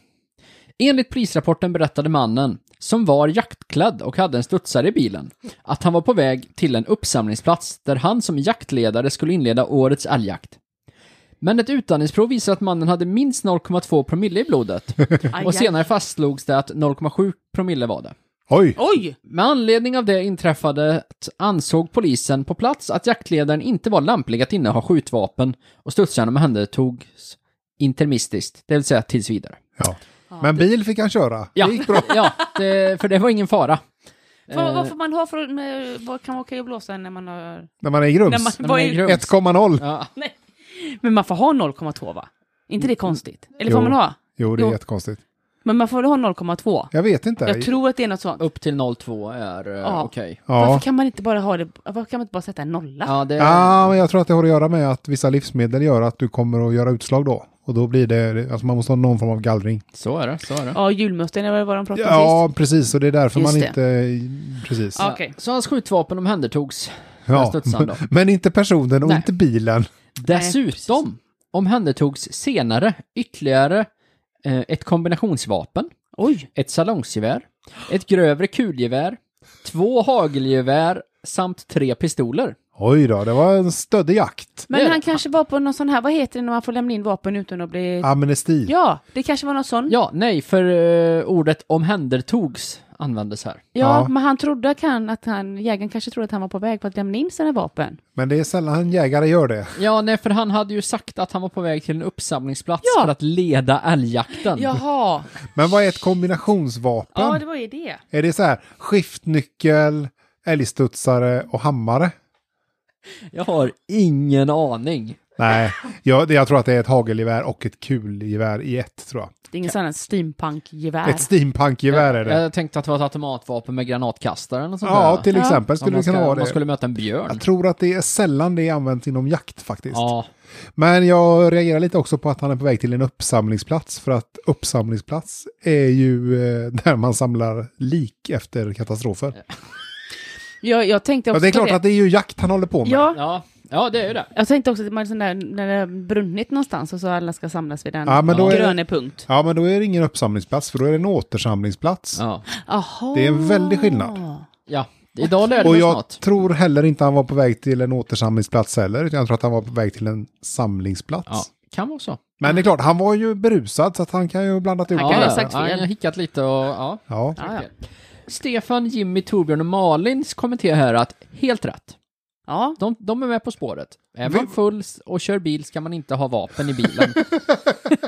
A: Enligt polisrapporten berättade mannen, som var jaktklädd och hade en studsare i bilen, att han var på väg till en uppsamlingsplats där han som jaktledare skulle inleda årets älgjakt. Men ett utandningsprov visar att mannen hade minst 0,2 promille i blodet
B: Aj,
A: och
B: aj.
A: senare fastslogs det att 0,7 promille var det.
C: Oj!
B: Oj!
A: Med anledning av det inträffade ansåg polisen på plats att jaktledaren inte var lämplig att inneha skjutvapen och studsarna med henne togs intermistiskt, det vill säga tills vidare.
C: Ja. Men bil fick han köra.
A: Ja,
C: Det gick bra.
A: ja det, för det var ingen fara.
B: Vad,
A: Eh.
B: vad får man ha för... med- Vad kan vara okej att blåsa när man har...
C: När man är i
B: När
C: Grums.
B: man,
A: men
B: vad
A: det är
B: är-
A: grums.
C: 1,0.
A: Ja,
B: men man får ha 0,2 va? inte det konstigt? Eller får
C: Jo.
B: man ha?
C: Jo, det är
B: Jo.
C: jättekonstigt.
B: Men man får väl ha 0,2?
C: Jag vet inte.
B: Jag tror att det är något sånt.
A: upp till 02 är eh,
B: Ja.
A: okej.
C: ja.
B: Varför kan man inte bara ha det... Varför kan man inte bara sätta en nolla?
A: Ja, det,
C: ja, men jag tror att det har att göra med att vissa livsmedel gör att du kommer att göra utslag då. Och då blir det, alltså man måste ha någon form av gallring.
A: Så är det, så är det.
B: Ja, julmusten eller vad de pratade om sist.
C: Ja, precis. Och det är därför
B: Just
C: man
B: det.
C: inte... Precis.
B: Ja.
C: Ja.
B: okej.
A: Så hans skjutvapen omhändertogs studsaren då.
C: Men inte personen och
A: Nej.
C: inte bilen.
A: Dessutom omhändertogs senare ytterligare eh, ett kombinationsvapen,
B: Oj!
A: ett salongsgevär, ett grövre kulgevär, två hagelgevär samt tre pistoler.
C: Oj då, det var en stöddig jakt.
A: Det är
B: Men han
A: det.
B: kanske var på någon sån här, vad heter det när man får lämna in vapen utan att bli... Ja,
C: Amnesti.
B: det kanske var någon sån. Ja,
A: Ja, nej, för eh, ordet omhändertogs användes här.
C: Ja.
B: men han trodde att han, att han, jägaren kanske trodde att han var på väg på att lämna in sina vapen.
C: Men det är sällan jägare gör det.
A: Ja, nej, för han hade ju sagt att han var på väg till en uppsamlingsplats
B: Ja.
A: för att leda älgjakten.
B: Jaha,
C: Men vad är ett kombinationsvapen?
B: ja det var ju det.
C: Är det så här skiftnyckel, älgstudsare och hammare?
A: Jag har ingen aning.
C: Nej, jag, jag tror att det är ett hagelgevär och ett kulgevär i ett, tror jag.
B: Det är ingen sån här steampunk-gevär.
C: Ett steampunkgevär är det.
A: Jag tänkte att det var ett automatvapen med granatkastare eller något sånt
C: Ja,
A: där.
C: till
B: Ja.
C: exempel
A: Om
C: skulle
A: man
C: det
A: ska,
C: kunna
A: om
C: vara
A: man skulle
C: det.
A: möta en björn.
C: Jag tror att det är sällan det används inom jakt faktiskt.
A: Ja,
C: Men jag reagerar lite också på att han är på väg till en uppsamlingsplats för att uppsamlingsplats är ju eh, där man samlar lik efter katastrofer.
B: Jag, jag tänkte
C: Ja,
B: också
C: det är klart
B: på
C: att det är ju jakt han håller på med.
B: Ja,
A: ja, ja, det är ju det.
B: jag tänkte också att man är sån där, när det har brunnit någonstans och så alla ska samlas vid den
C: Ja, men då är
B: gröna punkt.
C: Ja, men då är det ingen uppsamlingsplats för då är det en återsamlingsplats.
A: Ja.
B: Aha.
C: Det är en väldig
B: Ah.
C: skillnad.
A: ja. Idag lärde
C: Och
A: vi
C: jag
A: oss något.
C: tror heller inte han var på väg till en återsamlingsplats heller, utan jag tror att han var på väg till en samlingsplats.
A: Ja, kan vara så.
C: Men det är klart, han var ju berusad så att han kan ju ha blandat ihop
B: Han kan
A: ja,
B: ha
A: ja.
B: sagt
A: Ja,
B: fel. Ah,
A: jag har hickat lite och ja.
C: Ja.
B: Ja, ja.
A: Stefan, Jimmy, Torbjörn och Malins kommenterar här att helt rätt.
B: ja,
A: De, de är med på spåret. Är man full s- och kör bil ska man inte ha vapen i bilen.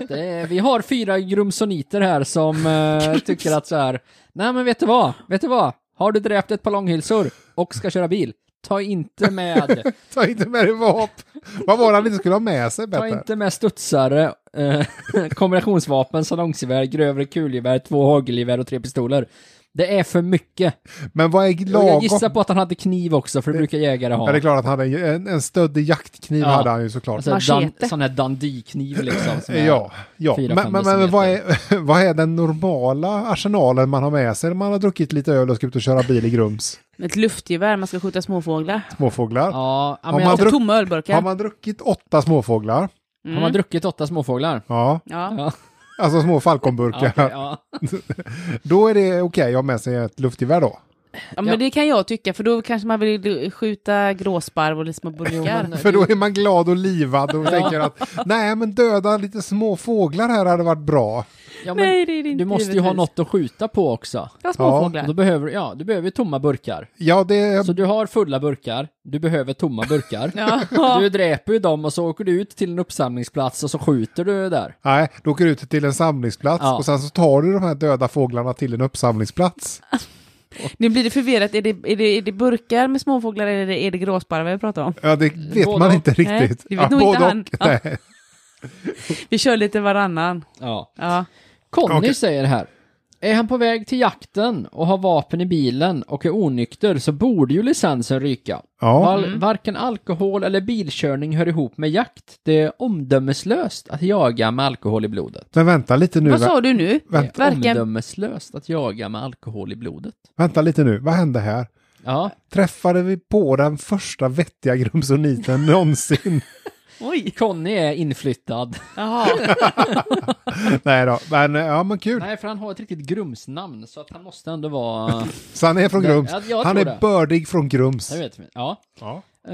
A: det är, vi har fyra grumsoniter här som eh, tycker att så här, nej men vet du vad, vet du vad, har du dräpt ett par långhylsor och ska köra bil, ta inte med,
C: Ta inte med dig vapen. Vad var det han inte skulle ha med sig,
A: ta
C: Petter?
A: inte med studsare, eh, kombinationsvapen, salongsgevär, grövre kulgevär, två hagelgevär och tre pistoler. Det är för mycket.
C: Men vad är
A: Och
C: lagom?
A: jag gissar på att han hade kniv också, för det brukar jägare
C: Ja, det är
A: ha.
C: klart att han hade en, en stöddig jaktkniv
A: Ja.
C: hade han ju såklart. Eh,
A: Alltså, dan,
B: Machete.
A: sån här dandikkniv liksom. som är-
C: ja, ja.
A: fyra,
C: men,
A: fem
C: men, men
A: decimeter.
C: vad, är, vad är den normala arsenalen man har med sig när man har druckit lite öl och ska ut och köra bil i Grums?
B: ett luftgevär, man ska skjuta småfåglar.
A: Ja,
C: Småfåglar.
A: ja,
C: Om
A: men
C: man
A: jag,
B: Alltså
C: druck-
B: tomma ölburkar. Mm.
C: Har man druckit åtta småfåglar
A: Han har druckit åtta småfåglar.
C: Ja,
B: Ja.
A: Ja,
C: alltså små
A: ja,
C: falkonburkar.
A: okej, ja.
C: Då är det okej att ha med sig ett luftgevär då.
B: ja, men det kan jag tycka, för då kanske man vill skjuta gråsparv och lite små burkar.
A: men-
C: För då är man glad och livad och tänker att nej, men döda lite små fåglar här hade varit bra.
A: Ja, men
B: Nej, det är det inte
A: du måste ju
B: givetvis.
A: ha något att skjuta på också.
B: Ja, småfåglar.
A: Och då behöver, ja, du behöver ju tomma burkar.
C: Ja, det,
A: Så du har fulla burkar, du behöver tomma burkar.
B: Ja.
A: Du dräper ju dem och så åker du ut till en uppsamlingsplats och så skjuter du där.
C: nej, du åker ut till en samlingsplats
A: Ja.
C: och sen så tar du de här döda fåglarna till en uppsamlingsplats.
B: Nu blir det förvirrat, är det, är det, är det burkar med småfåglar eller är det, är det gråsparvar vi pratar om?
C: Ja, det vet
A: Både
C: man
A: och.
C: inte riktigt.
B: det vet nog inte
C: både
B: han.
C: och. Nej.
B: Vi kör lite varannan.
A: Ja.
B: Ja.
A: Conny
C: Okej.
A: säger här. Är han på väg till jakten och har vapen i bilen och är onykter så borde ju licensen ryka.
C: Ja,
A: Val-
B: Mm.
A: Varken alkohol eller bilkörning hör ihop med jakt. Det är omdömeslöst att jaga med alkohol i blodet.
C: men vänta lite nu.
B: Vad
C: vä-
B: sa du nu?
A: Det
C: Vänta,
A: är
B: Varken-
A: omdömeslöst att jaga med alkohol i blodet.
C: vänta lite nu, vad hände här?
A: Ja,
C: Träffade vi på den första vettiga grumsoniten någonsin?
B: Oj!
A: Conny är inflyttad.
B: Jaha.
C: Nej då, men ja men kul.
A: Nej, för han har ett riktigt grumsnamn så att han måste ändå vara...
C: Så han är från
A: Nej,
C: Grums.
A: jag- jag
C: han
A: tror
C: är
A: det.
C: bördig från Grums.
A: Jag vet inte. Ja.
C: Ja.
A: Eh,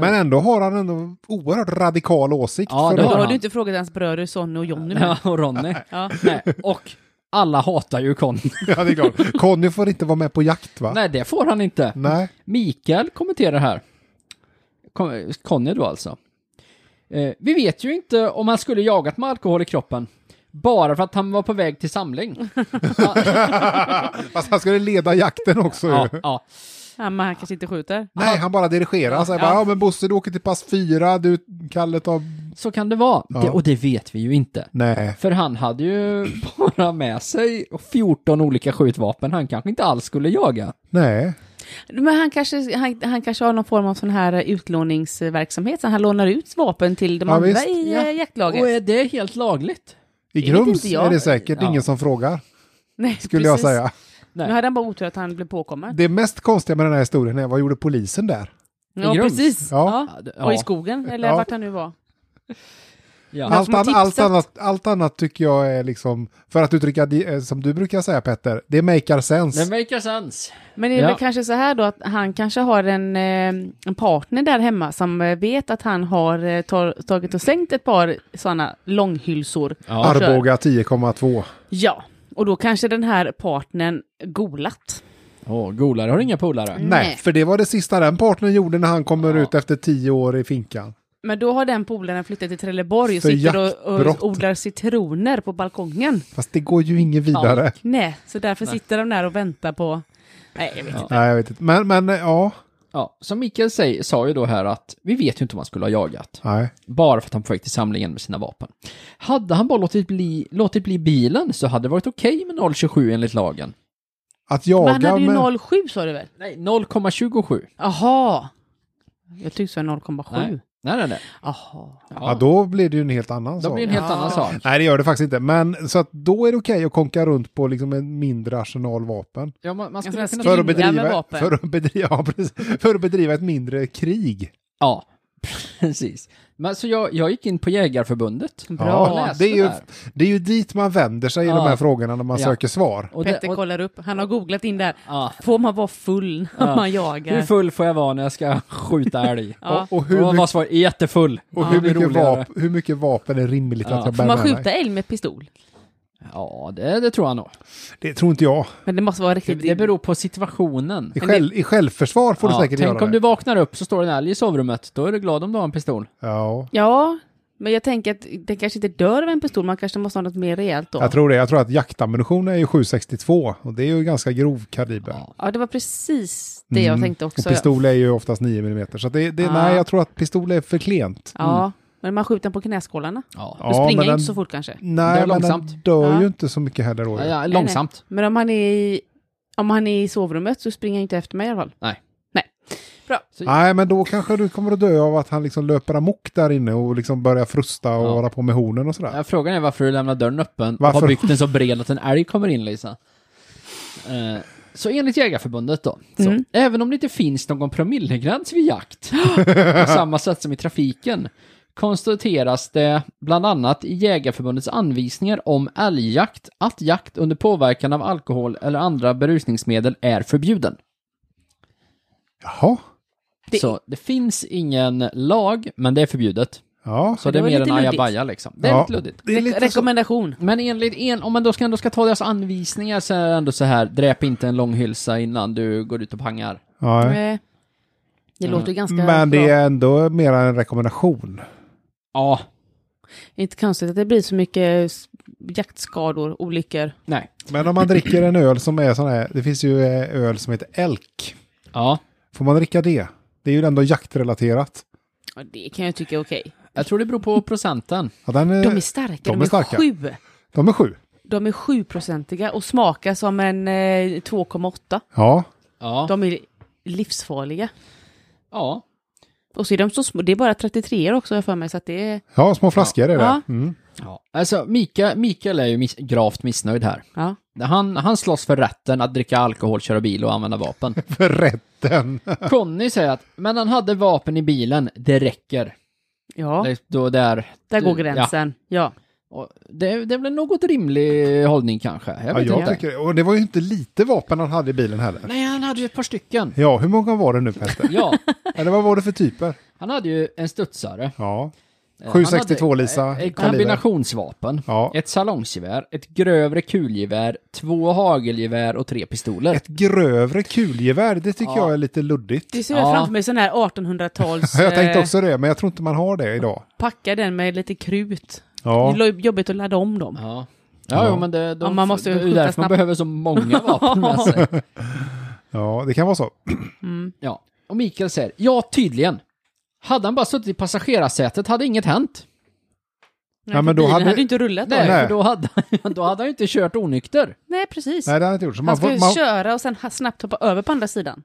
C: Men ändå har han ändå oerhört radikal åsikt.
A: Ja,
C: för
A: det
B: Då
A: har
B: har
A: han.
B: du inte frågat hans bröder Sonny och Jonny. men-
A: Ja, och Ronny.
B: Ja.
A: Nej, och alla hatar ju Conny.
C: ja, det är klart. Conny får inte vara med på jakt va?
A: Nej, det får han inte.
C: Nej.
A: Mikael kommenterar här. Kon- Conny då alltså. Eh, vi vet ju inte om han skulle jagat med alkohol i kroppen. Bara för att han var på väg till samling.
C: Fast han skulle leda jakten också
A: ja,
C: ju.
A: ja.
B: Ja, men han kanske inte skjuter.
C: Nej, han bara dirigerar. Så jag bara, ja men Bosse du åker till pass fyra, du Kalle tar...
A: Så kan det vara.
C: Ja.
A: Det, och det vet vi ju inte.
C: Nej.
A: För han hade ju bara med sig 14 olika skjutvapen han kanske inte alls skulle jaga.
C: Nej.
B: Men han kanske, han, han kanske har någon form av sån här eh, utlåningsverksamhet, så han lånar ut vapen till de
C: Ja,
B: andra
C: visst.
B: i
A: Ja.
B: eh, jaktlaget.
A: Och är det helt lagligt?
C: I
B: Det vet
C: Grums
B: inte jag.
C: är det säkert
A: Ja.
C: ingen som frågar,
B: Nej,
C: skulle
B: precis.
C: jag säga.
B: Nu hade han bara otur att han blev påkommen.
C: Det mest konstiga med den här historien är, vad gjorde polisen där?
B: Ja,
A: Grums.
B: precis.
C: Ja.
B: Ja.
A: det-
B: Och i skogen, eller
C: Ja.
B: vart han nu var.
A: Ja.
C: Allt,
B: som
C: an, allt,
B: tipset.
C: annat, allt annat tycker jag är liksom, för att uttrycka det som du brukar säga Petter, det makar sense.
A: Det maker sense.
B: Men det är
A: Ja.
B: väl kanske så här då att han kanske har en, eh, en partner där hemma som eh, vet att han har eh, tar, tagit och sänkt ett par sådana långhylsor.
A: Ja.
B: Ar-
C: Arboga 10,2.
B: Ja, och då kanske den här partnern golat.
A: Åh, golare har inga polare.
C: Nej.
B: Nej.
C: för det var det sista den partnern gjorde när han kommer
A: Ja.
C: ut efter tio år i finkan.
B: Men då har den polaren flyttat till Trelleborg och
C: För
B: sitter och,
C: jaktbrott.
B: och odlar citroner på balkongen.
C: Fast det går ju inget vidare.
B: Nej, så därför sitter de där och väntar på... Nej, jag vet inte.
C: Nej, jag vet inte. Men, men ja.
A: Ja, som Mikael säger, sa ju då här att vi vet ju inte om han skulle ha jagat.
C: Nej.
A: Bara för att han på väg till samlingen med sina vapen. Hade han bara låtit bli, låtit bli bilen så hade det varit okej med 0,27 enligt lagen.
C: Att
B: Men han
C: jaga
B: hade ju
C: med...
B: 0,7 sa du väl?
A: Nej, 0,27.
B: Jaha! Jag tyckte det var
A: Nej.
B: 0,7.
A: Nej, nej, nej.
B: Jaha.
C: Ja, då blir det ju en helt annan
A: Då
C: sak.
A: blir det en helt
B: Ja.
A: annan sak.
C: Nej, det gör det faktiskt inte. Men så att då är det okej att konka runt på liksom en mindre arsenal vapen.
A: Ja, man, man skulle
B: Jag ska
A: kunna...
C: För
B: Inga
C: att,
B: med
C: bedriva,
B: vapen.
C: för, att bedriva, ja, precis, för att bedriva ett mindre krig.
A: Ja, precis. Men så jag, jag gick in på Jägarförbundet.
B: Bra.
A: Jag läste
C: det, är ju,
A: där.
C: det är ju dit man vänder sig i
A: Ja.
C: de här frågorna när man
A: Ja.
C: söker svar.
A: Och det-
B: Petter
A: och-
B: kollar upp, han har googlat in där.
A: Ja.
B: Får man vara full när
A: Ja.
B: man
A: Hur
B: jagar?
A: full får jag vara när jag ska skjuta älg?
B: Ja.
C: Och, och
A: Hur
C: hur,
A: och
C: mycket,
A: vad svar? Jättefull.
C: och
A: Det
C: hur,
A: blir
C: mycket,
A: roligare.
C: vapen, hur mycket vapen är rimligt
A: Ja.
C: att jag bär
B: Får man
C: med mig?
B: skjuta älg med pistol?
A: Ja, det, det tror jag nog.
C: Det tror inte jag.
B: Men det måste vara
A: Det,
B: riktigt...
A: det beror på situationen.
C: I, själv, I självförsvar får
A: Ja,
C: du säkert
A: tänk
C: göra
A: om
C: det.
A: du vaknar upp så står det en älg i sovrummet. Då är du glad om du har en pistol.
C: Ja,
B: Ja, men jag tänker att den kanske inte dör av en pistol, man kanske måste ha något mer rejält då.
C: jag tror det. Jag tror att jaktammunition är ju 762 och det är ju ganska grov kaliber.
A: Ja.
B: Ja, det var precis det jag
C: Mm.
B: tänkte också.
C: Och pistol är ju oftast 9 mm. Så att det, det,
B: Ah.
C: nej, jag tror att pistol är för klent.
B: Ja, men man skjuter den på knäskålarna.
A: Ja.
B: Då springer
C: Mm. men
B: jag
C: den-
B: inte så fort kanske.
A: Det
C: Nej,
A: är
C: men den
A: långsamt.
C: dör ju
B: Ja.
C: inte så mycket heller då.
A: Ja,
C: ju.
A: ja, långsamt.
B: Men om han är i, om han är i sovrummet så springer han inte efter mig i alla fall.
C: Nej, men då kanske du kommer att dö av att han liksom löper amok där inne och liksom börjar frusta och
A: Ja.
C: hålla på med hornen och sådär.
A: Ja, Frågan är varför du lämnar dörren öppen och
C: Varför?
A: har byggt den så bred att en älg kommer in, Lisa. Eh, Så enligt Jägarförbundet då, så,
B: Mm.
A: även om det inte finns någon promillegräns vid jakt, på samma sätt som i trafiken, konstateras det bland annat i Jägarförbundets anvisningar om älgjakt att jakt under påverkan av alkohol eller andra berusningsmedel är förbjuden.
C: Jaha.
B: Det-
A: Så det finns ingen lag, men det är förbjudet.
C: Ja.
A: Så
B: det
A: det är
B: var
A: mer
B: lite
A: en
B: luddigt.
A: ajabaja liksom. Det är
C: Ja.
A: lite luddigt.
C: Det är lite så-
B: Rekommendation.
A: Men enligt en, om man då ska, ändå ska ta deras anvisningar så är det ändå så här, dräp inte en lång hylsa innan du går ut och pangar.
C: Ja. Mm.
B: Eh, Det låter ganska
C: Men det
B: bra.
C: är ändå mer en rekommendation.
A: Ja,
B: Inte konstigt att det blir så mycket s- jaktskador, olyckor.
A: nej.
C: Men om man dricker en öl som är sån här, det finns ju eh, öl som heter elk.
A: Ja,
C: Får man dricka det? Det är ju ändå jaktrelaterat.
B: Ja, Det kan jag tycka är okej.
A: jag tror det beror på procenten.
C: Ja, den, eh,
B: De är starka. De, är,
C: starka.
B: sju.
C: de är sju.
B: De är sjuprocentiga och smakar som en eh, 2,8.
C: Ja.
A: Ja,
B: De är livsfarliga.
A: ja.
B: Och så är de så små. Det är bara 33 också har jag för mig. Så att det är...
C: ja, små flaskor är
B: Ja.
C: det. Mm.
A: ja. Alltså, Mika, Mikael är ju miss, gravt missnöjd här.
B: Ja.
A: Han, han slåss för rätten att dricka alkohol, köra bil och använda vapen.
C: För rätten.
A: Conny säger att, men han hade vapen i bilen, det räcker.
B: ja,
A: Det, då där,
B: där går
A: Ja.
B: gränsen. Ja.
A: och det, det är väl något rimlig hållning kanske. Jag
C: Ja,
A: vet
C: jag
A: inte.
C: tycker det. Och det var ju inte lite vapen han hade i bilen heller.
A: Nej, han hade ju ett par stycken.
C: Ja, hur många var det nu Petter?
A: Ja,
C: Eller vad var det för typer?
A: han hade ju en studsare.
C: Ja.
A: Eh,
C: 762
A: han hade,
C: Lisa.
A: eh, Ett
C: kaliber.
A: kombinationsvapen.
C: Ja.
A: Ett salongsgevär, ett grövre kulgevär, två hagelgevär och tre pistoler.
C: Ett grövre kulgevär, det tycker jag är lite luddigt.
B: Det ser
A: Ja.
B: jag framför mig sån här 1800-tals...
C: Jag tänkte
B: eh,
C: också det, men jag tror inte man har det idag.
B: Packa den med lite krut.
C: Ja.
B: Det är jobbigt att ladda om dem.
A: Ja. Ja,
C: Ja.
A: Jo, men det, de,
B: Ja, man måste ju
A: det är ju
B: skjuta
A: därför man
B: snabbt.
A: behöver så många vapen med sig.
C: ja, det kan vara så.
A: Ja. Och Mikael säger, ja tydligen. Hade han bara suttit i passagerarsätet hade inget hänt.
C: Ja, men då
B: Bilen
C: hade-
B: hade ju inte rullat
A: Nej,
B: då.
C: Nej.
A: för då hade, då hade han ju inte kört onykter.
B: Nej, precis.
C: Nej, det har jag inte gjort. Så man,
B: Han ska ju
C: får, man,
B: köra och sen ha- snabbt hoppa över på andra sidan.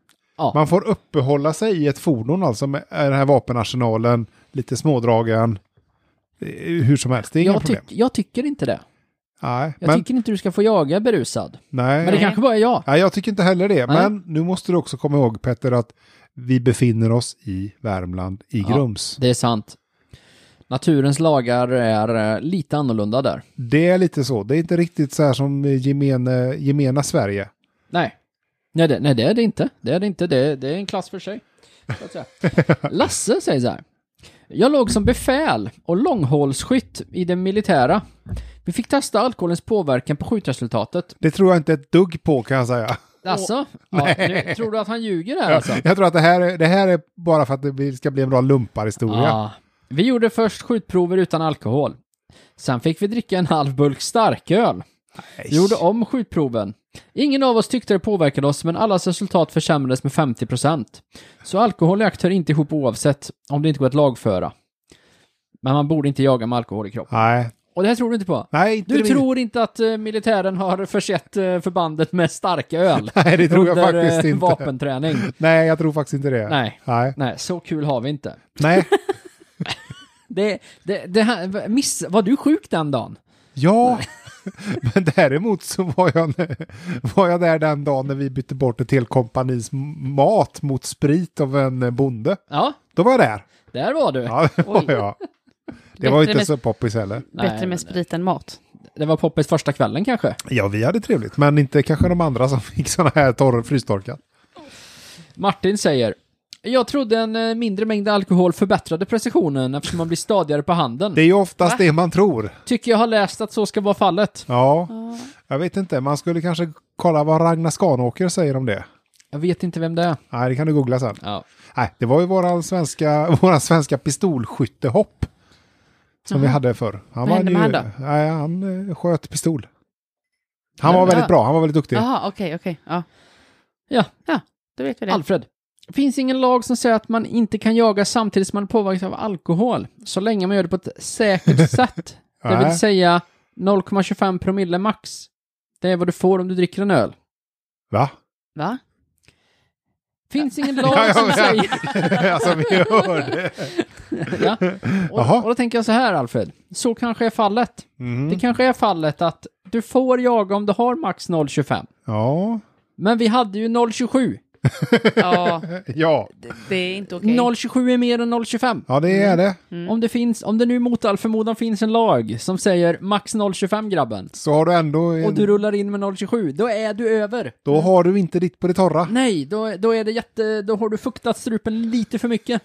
C: man får uppehålla sig i ett fordon alltså med den här vapenarsenalen, lite smådragen. Eh, Hur som helst, det är inga
A: Jag, tyck,
C: problem.
A: jag tycker inte det.
C: Nej,
A: Jag
C: men,
A: tycker inte du ska få jaga berusad.
C: nej.
A: Men det kanske bara är jag.
C: nej, jag tycker inte heller det. Men nu måste du också komma ihåg Petter att vi befinner oss i Värmland, i
A: Ja.
C: Grums.
A: Det är sant. Naturens lagar är eh, lite annorlunda där.
C: Det är lite så. Det är inte riktigt så här som eh, gemene, gemena Sverige.
A: Nej. Nej det, nej, det är det inte. Det är det inte. Det, det är en klass för sig. Så att säga. Lasse säger så här. Jag låg som befäl och långhålsskytt i det militära. Vi fick testa alkoholens påverkan på skjutresultatet.
C: Det tror jag inte ett dugg på kan jag säga.
A: Alltså? Ja, nu, tror du att han ljuger här alltså?
C: Jag tror att det här, är- det här är bara för att det blir- ska bli en bra lumparhistoria.
A: Ah. Vi gjorde först skjutprover utan alkohol. Sen fick vi dricka en halv burk starköl. Vi gjorde om skjutproven. Ingen av oss tyckte det påverkade oss, men allas resultat försämrades med 50%. Så alkohol och jakt hör inte ihop oavsett, om det inte går att lagföra. Men man borde inte jaga med alkohol i kroppen.
C: Nej,
A: Och det här tror du inte på?
C: nej inte
A: Du
C: det-
A: tror inte att eh, militären har försett eh, förbandet med starka öl?
C: Nej, det tror jag
A: under,
C: faktiskt
A: eh,
C: inte.
A: vapenträning?
C: Nej, jag tror faktiskt inte det.
A: Nej.
C: Nej.
A: Nej, så kul har vi inte.
C: Nej.
A: Det, det, det här, miss, var du sjuk den dagen?
C: Ja. Men däremot så var jag, var jag där den dagen när vi bytte bort ett helt kompanis mat mot sprit av en bonde.
A: Ja,
C: Då var jag där.
A: där var du.
C: Ja, det var
B: Oj.
C: jag. Det var ju
B: Bättre
C: inte
B: med-
C: så poppis heller.
A: Nej,
B: Bättre
A: men-
B: med sprit än mat.
A: Det var Poppes första kvällen kanske.
C: Ja, vi hade trevligt, men inte kanske de andra som fick sådana här torr, frystorkat.
A: Martin säger, jag trodde en eh, mindre mängd alkohol förbättrade precisionen eftersom man blir stadigare på handen.
C: Det är ju oftast det man tror.
A: Tycker jag har läst att så ska vara fallet.
C: Ja, jag vet inte. Man skulle kanske kolla vad Ragnar Skanåker säger om det.
A: Jag vet inte vem det är.
C: Nej, det kan du googla sen.
A: Ja.
C: Nej, det var ju våran svenska, våran svenska pistolskyttehopp. Som vi hade förr. Han
B: Vad hände
C: vann ju-
B: med han
C: Nej, han eh, sköt pistol. Han
A: Men-
C: var väldigt
B: ja.
C: bra, han var väldigt duktig.
B: Jaha, okej, okej. Ja.
A: Ja.
B: Ja, då vet vi det.
A: Alfred. Finns ingen lag som säger att man inte kan jaga samtidigt som man påverkas av alkohol, så länge man gör det på ett säkert sätt. Det
C: Nej.
A: vill säga 0,25 promille max. Det är vad du får om du dricker en öl.
C: Va?
B: Va?
A: Finns ingen
C: Ja, ja,
A: lag som
C: ja.
A: säger...
C: alltså vi hörde.
A: Ja.
C: Jaha.
A: Och, och då tänker jag så här, Alfred. Så kanske är fallet.
C: Mm.
A: Det kanske är fallet att du får jaga om du har max 0,25.
C: Ja.
A: Men vi hade ju 0,27.
B: Ja,
C: Ja,
B: det, det är inte okej.
A: 0,27 är mer än 0,25.
C: ja det är det.
B: Mm.
A: Om, det finns, om det nu mot all förmodan finns en lag som säger max 0,25 grabben,
C: Så har du ändå... En,
A: och du rullar in med 0,27, då är du över.
C: Då har du inte ditt på det torra.
B: Mm.
A: Nej, då, då, är det jätte, då har du fuktat strupen lite för mycket.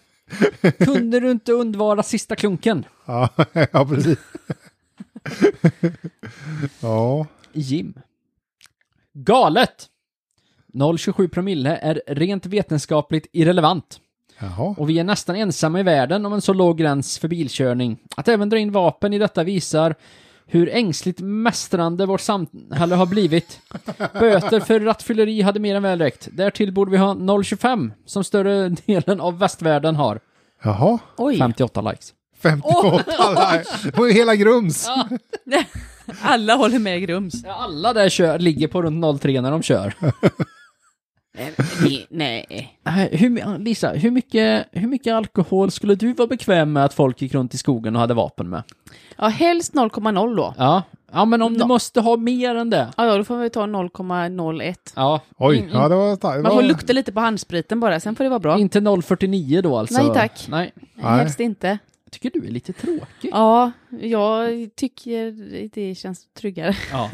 A: Kunde du inte undvara sista klunken?
C: Ja, ja precis. ja,
A: Jim. Galet! 0,27 promille är rent vetenskapligt irrelevant.
C: jaha.
A: Och vi är nästan ensamma i världen om en så låg gräns för bilkörning. Att även dra in vapen i detta visar hur ängsligt mästrande vårt samhälle har blivit. Böter för rattfylleri hade mer än väl räckt. Därtill borde vi ha 0,25 som större delen av västvärlden har.
C: Jaha.
B: Oj.
A: 58 likes.
C: 58 likes på hela Grums.
B: Alla håller med Grums.
A: Ja, alla där kör, ligger på runt 0,3 när de kör.
B: Nej, nej.
A: Nej, Hur, Lisa, hur mycket, hur mycket alkohol skulle du vara bekväm med att folk gick runt i skogen och hade vapen med?
B: Ja, helst 0,0 då.
A: Ja, ja men om du
B: Nå-
A: måste ha mer än det.
B: Ja, ja, då får vi ta 0,01.
A: Ja,
C: Oj, ja det var... tar- det
B: Mm, Man
C: var-
B: får lukta lite på handspriten bara, sen får det vara bra.
A: inte 0,49 då alltså?
B: Nej, tack.
A: Nej.
C: Nej.
B: Helst inte.
A: Jag tycker du är lite tråkig.
B: Ja, jag tycker det känns tryggare.
A: Ja.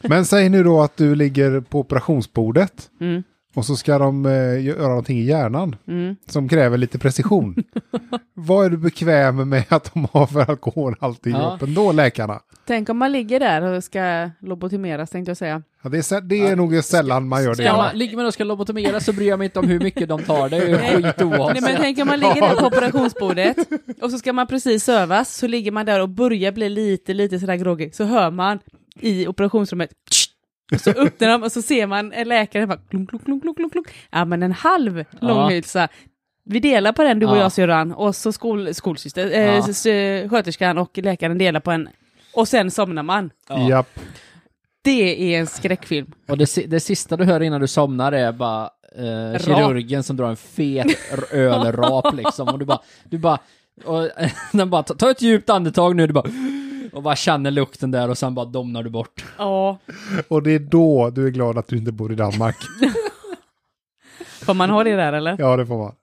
C: Men säg nu då att du ligger på operationsbordet
B: Mm.
C: och så ska de eh, göra någonting i hjärnan
B: Mm.
C: som kräver lite precision. Vad är du bekväm med att de har för alkoholhalt i
A: Ja.
C: kroppen då, läkarna?
B: Tänk om man ligger där och ska lobotomeras tänkte jag säga.
C: Ja, det är, sä- det är nog sällan man gör det.
A: Ska man, ligger man och ska lobotomera så bryr jag mig inte om hur mycket de tar, det är ju
B: Nej men
A: skitoavsett.
B: tänk om man ligger där på operationsbordet och så ska man precis övas, så ligger man där och börjar bli lite, lite sådär groggig, så hör man i operationsrummet "Tsch!" och så öppnar de och så ser man en läkare bara klunk, klunk, klunk, klunk, klunk, klunk. Ja men en halv långhylsa. Vi delar på den du och
A: Ja.
B: jag syrran och så skol, skolsyster, eh,
A: Ja.
B: s- s- sköterskan och läkaren delar på en och sen somnar man.
A: Ja.
C: Japp.
B: Det är en skräckfilm.
A: Och det, si- det sista du hör innan du somnar är bara eh, kirurgen som drar en fet r- ölrap liksom. Och du bara, du bara, och, eh, den bara ta, ta ett djupt andetag nu, du bara, och bara känner lukten där och sen bara domnar du bort.
B: Ja.
C: Och det är då du är glad att du inte bor i Danmark.
B: Får man ha det där eller?
C: Ja, det får man.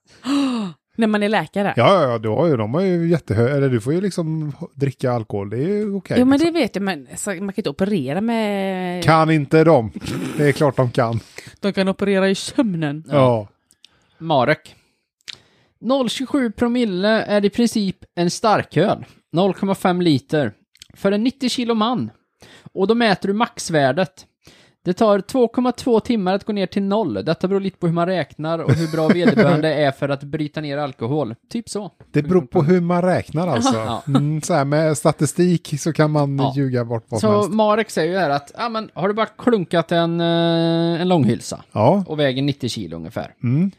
B: När man är läkare?
C: Ja, ja, ja du har ju, de har ju jättehö... Eller du får ju liksom dricka alkohol, det är ju okej.
B: Jo men
C: liksom.
B: det vet jag, men så- man kan inte operera med...
C: Kan inte de. Det är klart de kan.
B: De kan operera i sömnen.
C: Ja.
A: Marek. 0,27 promille är i princip en starköl. 0,5 liter. För en 90 kilo man. Och då mäter du maxvärdet. Det tar 2,2 timmar att gå ner till noll. Detta beror lite på hur man räknar och hur bra vederbörande är för att bryta ner alkohol. Typ så.
C: Det beror på hur man räknar alltså.
A: Ja.
C: Mm, så här med statistik så kan man
A: Ja.
C: ljuga bort vad som
A: Så
C: helst.
A: Marek säger ju här att, ja men har du bara klunkat en, eh, en långhylsa
C: Ja,
A: och väger 90 kilo ungefär.
C: mm,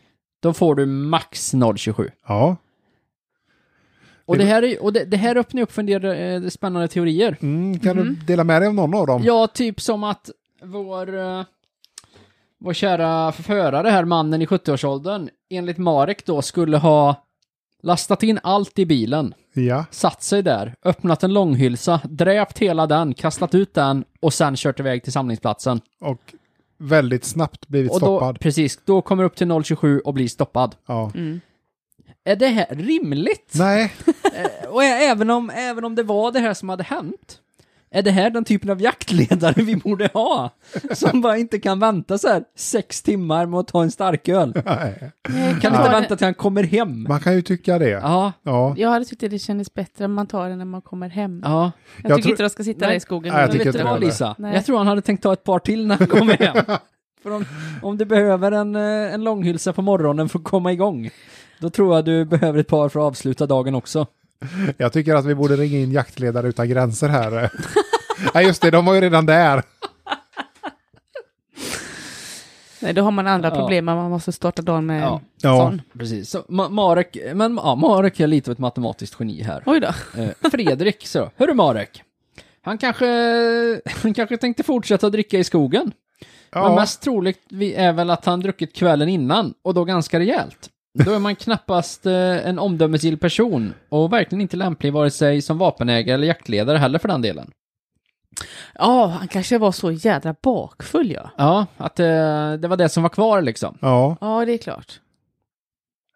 A: Då får du max 0,27.
C: ja.
A: Och det här, är, och det, det här öppnar upp för en del eh, spännande teorier.
C: Mm, kan du dela med dig av någon av dem?
A: Ja, typ som att vår, eh, vår kära förförare här, mannen i 70-årsåldern, enligt Marek då skulle ha lastat in allt i bilen,
C: Ja.
A: satt sig där, öppnat en långhylsa, dräpt hela den, kastat ut den och sen kört iväg till samlingsplatsen.
C: Och väldigt snabbt blivit
A: Och då,
C: stoppad.
A: precis, då kommer upp till 0,27 och blir stoppad.
C: Ja.
A: Är det här rimligt?
C: Nej,
A: Och ä- även om, även om det var det här som hade hänt, är det här den typen av jaktledare vi borde ha? Som bara inte kan vänta så här sex timmar med att ta en starköl.
C: nej.
A: Kan inte vänta till han kommer hem.
C: Man kan ju tycka det.
A: Ja,
C: Ja.
B: Jag hade tyckt att det kändes bättre om man tar den när man kommer hem.
A: ja.
B: Jag,
C: Jag
B: tycker
C: tror-
B: inte de ska sitta
A: Nej.
B: där i skogen.
C: Nej, jag
A: Men
C: tycker
A: vet
C: inte
A: du
C: det
A: vad
C: heller.
A: Lisa?
B: Nej.
A: Jag tror han hade tänkt ta ett par till när han kommer hem. För om, om du behöver en, eh, en långhylsa på morgonen för att komma igång, då tror jag du behöver ett par för att avsluta dagen också.
C: Jag tycker att vi borde ringa in jaktledare utan gränser här. Nej, just det, de var ju redan där.
B: Nej, då har man andra
A: Ja.
B: problem, man måste starta dagen med...
A: Ja,
C: Ja.
A: Sån. precis. Så, Ma- Marek, men ja, Marek är lite av ett matematiskt geni här.
B: Oj då.
A: Eh, Fredrik, så. Hörru Marek. Han kanske, han kanske tänkte fortsätta dricka i skogen. Men
C: Ja,
A: mest troligt vi- är väl att han druckit kvällen innan, och då ganska rejält. Då är man knappast eh, en omdömesgill person, och verkligen inte lämplig vare sig som vapenägare eller jaktledare heller för den delen.
B: Ja, han kanske var så jädra bakfull ja.
A: Ja, att eh, det var det som var kvar liksom.
C: Ja,
B: Ja, det är klart.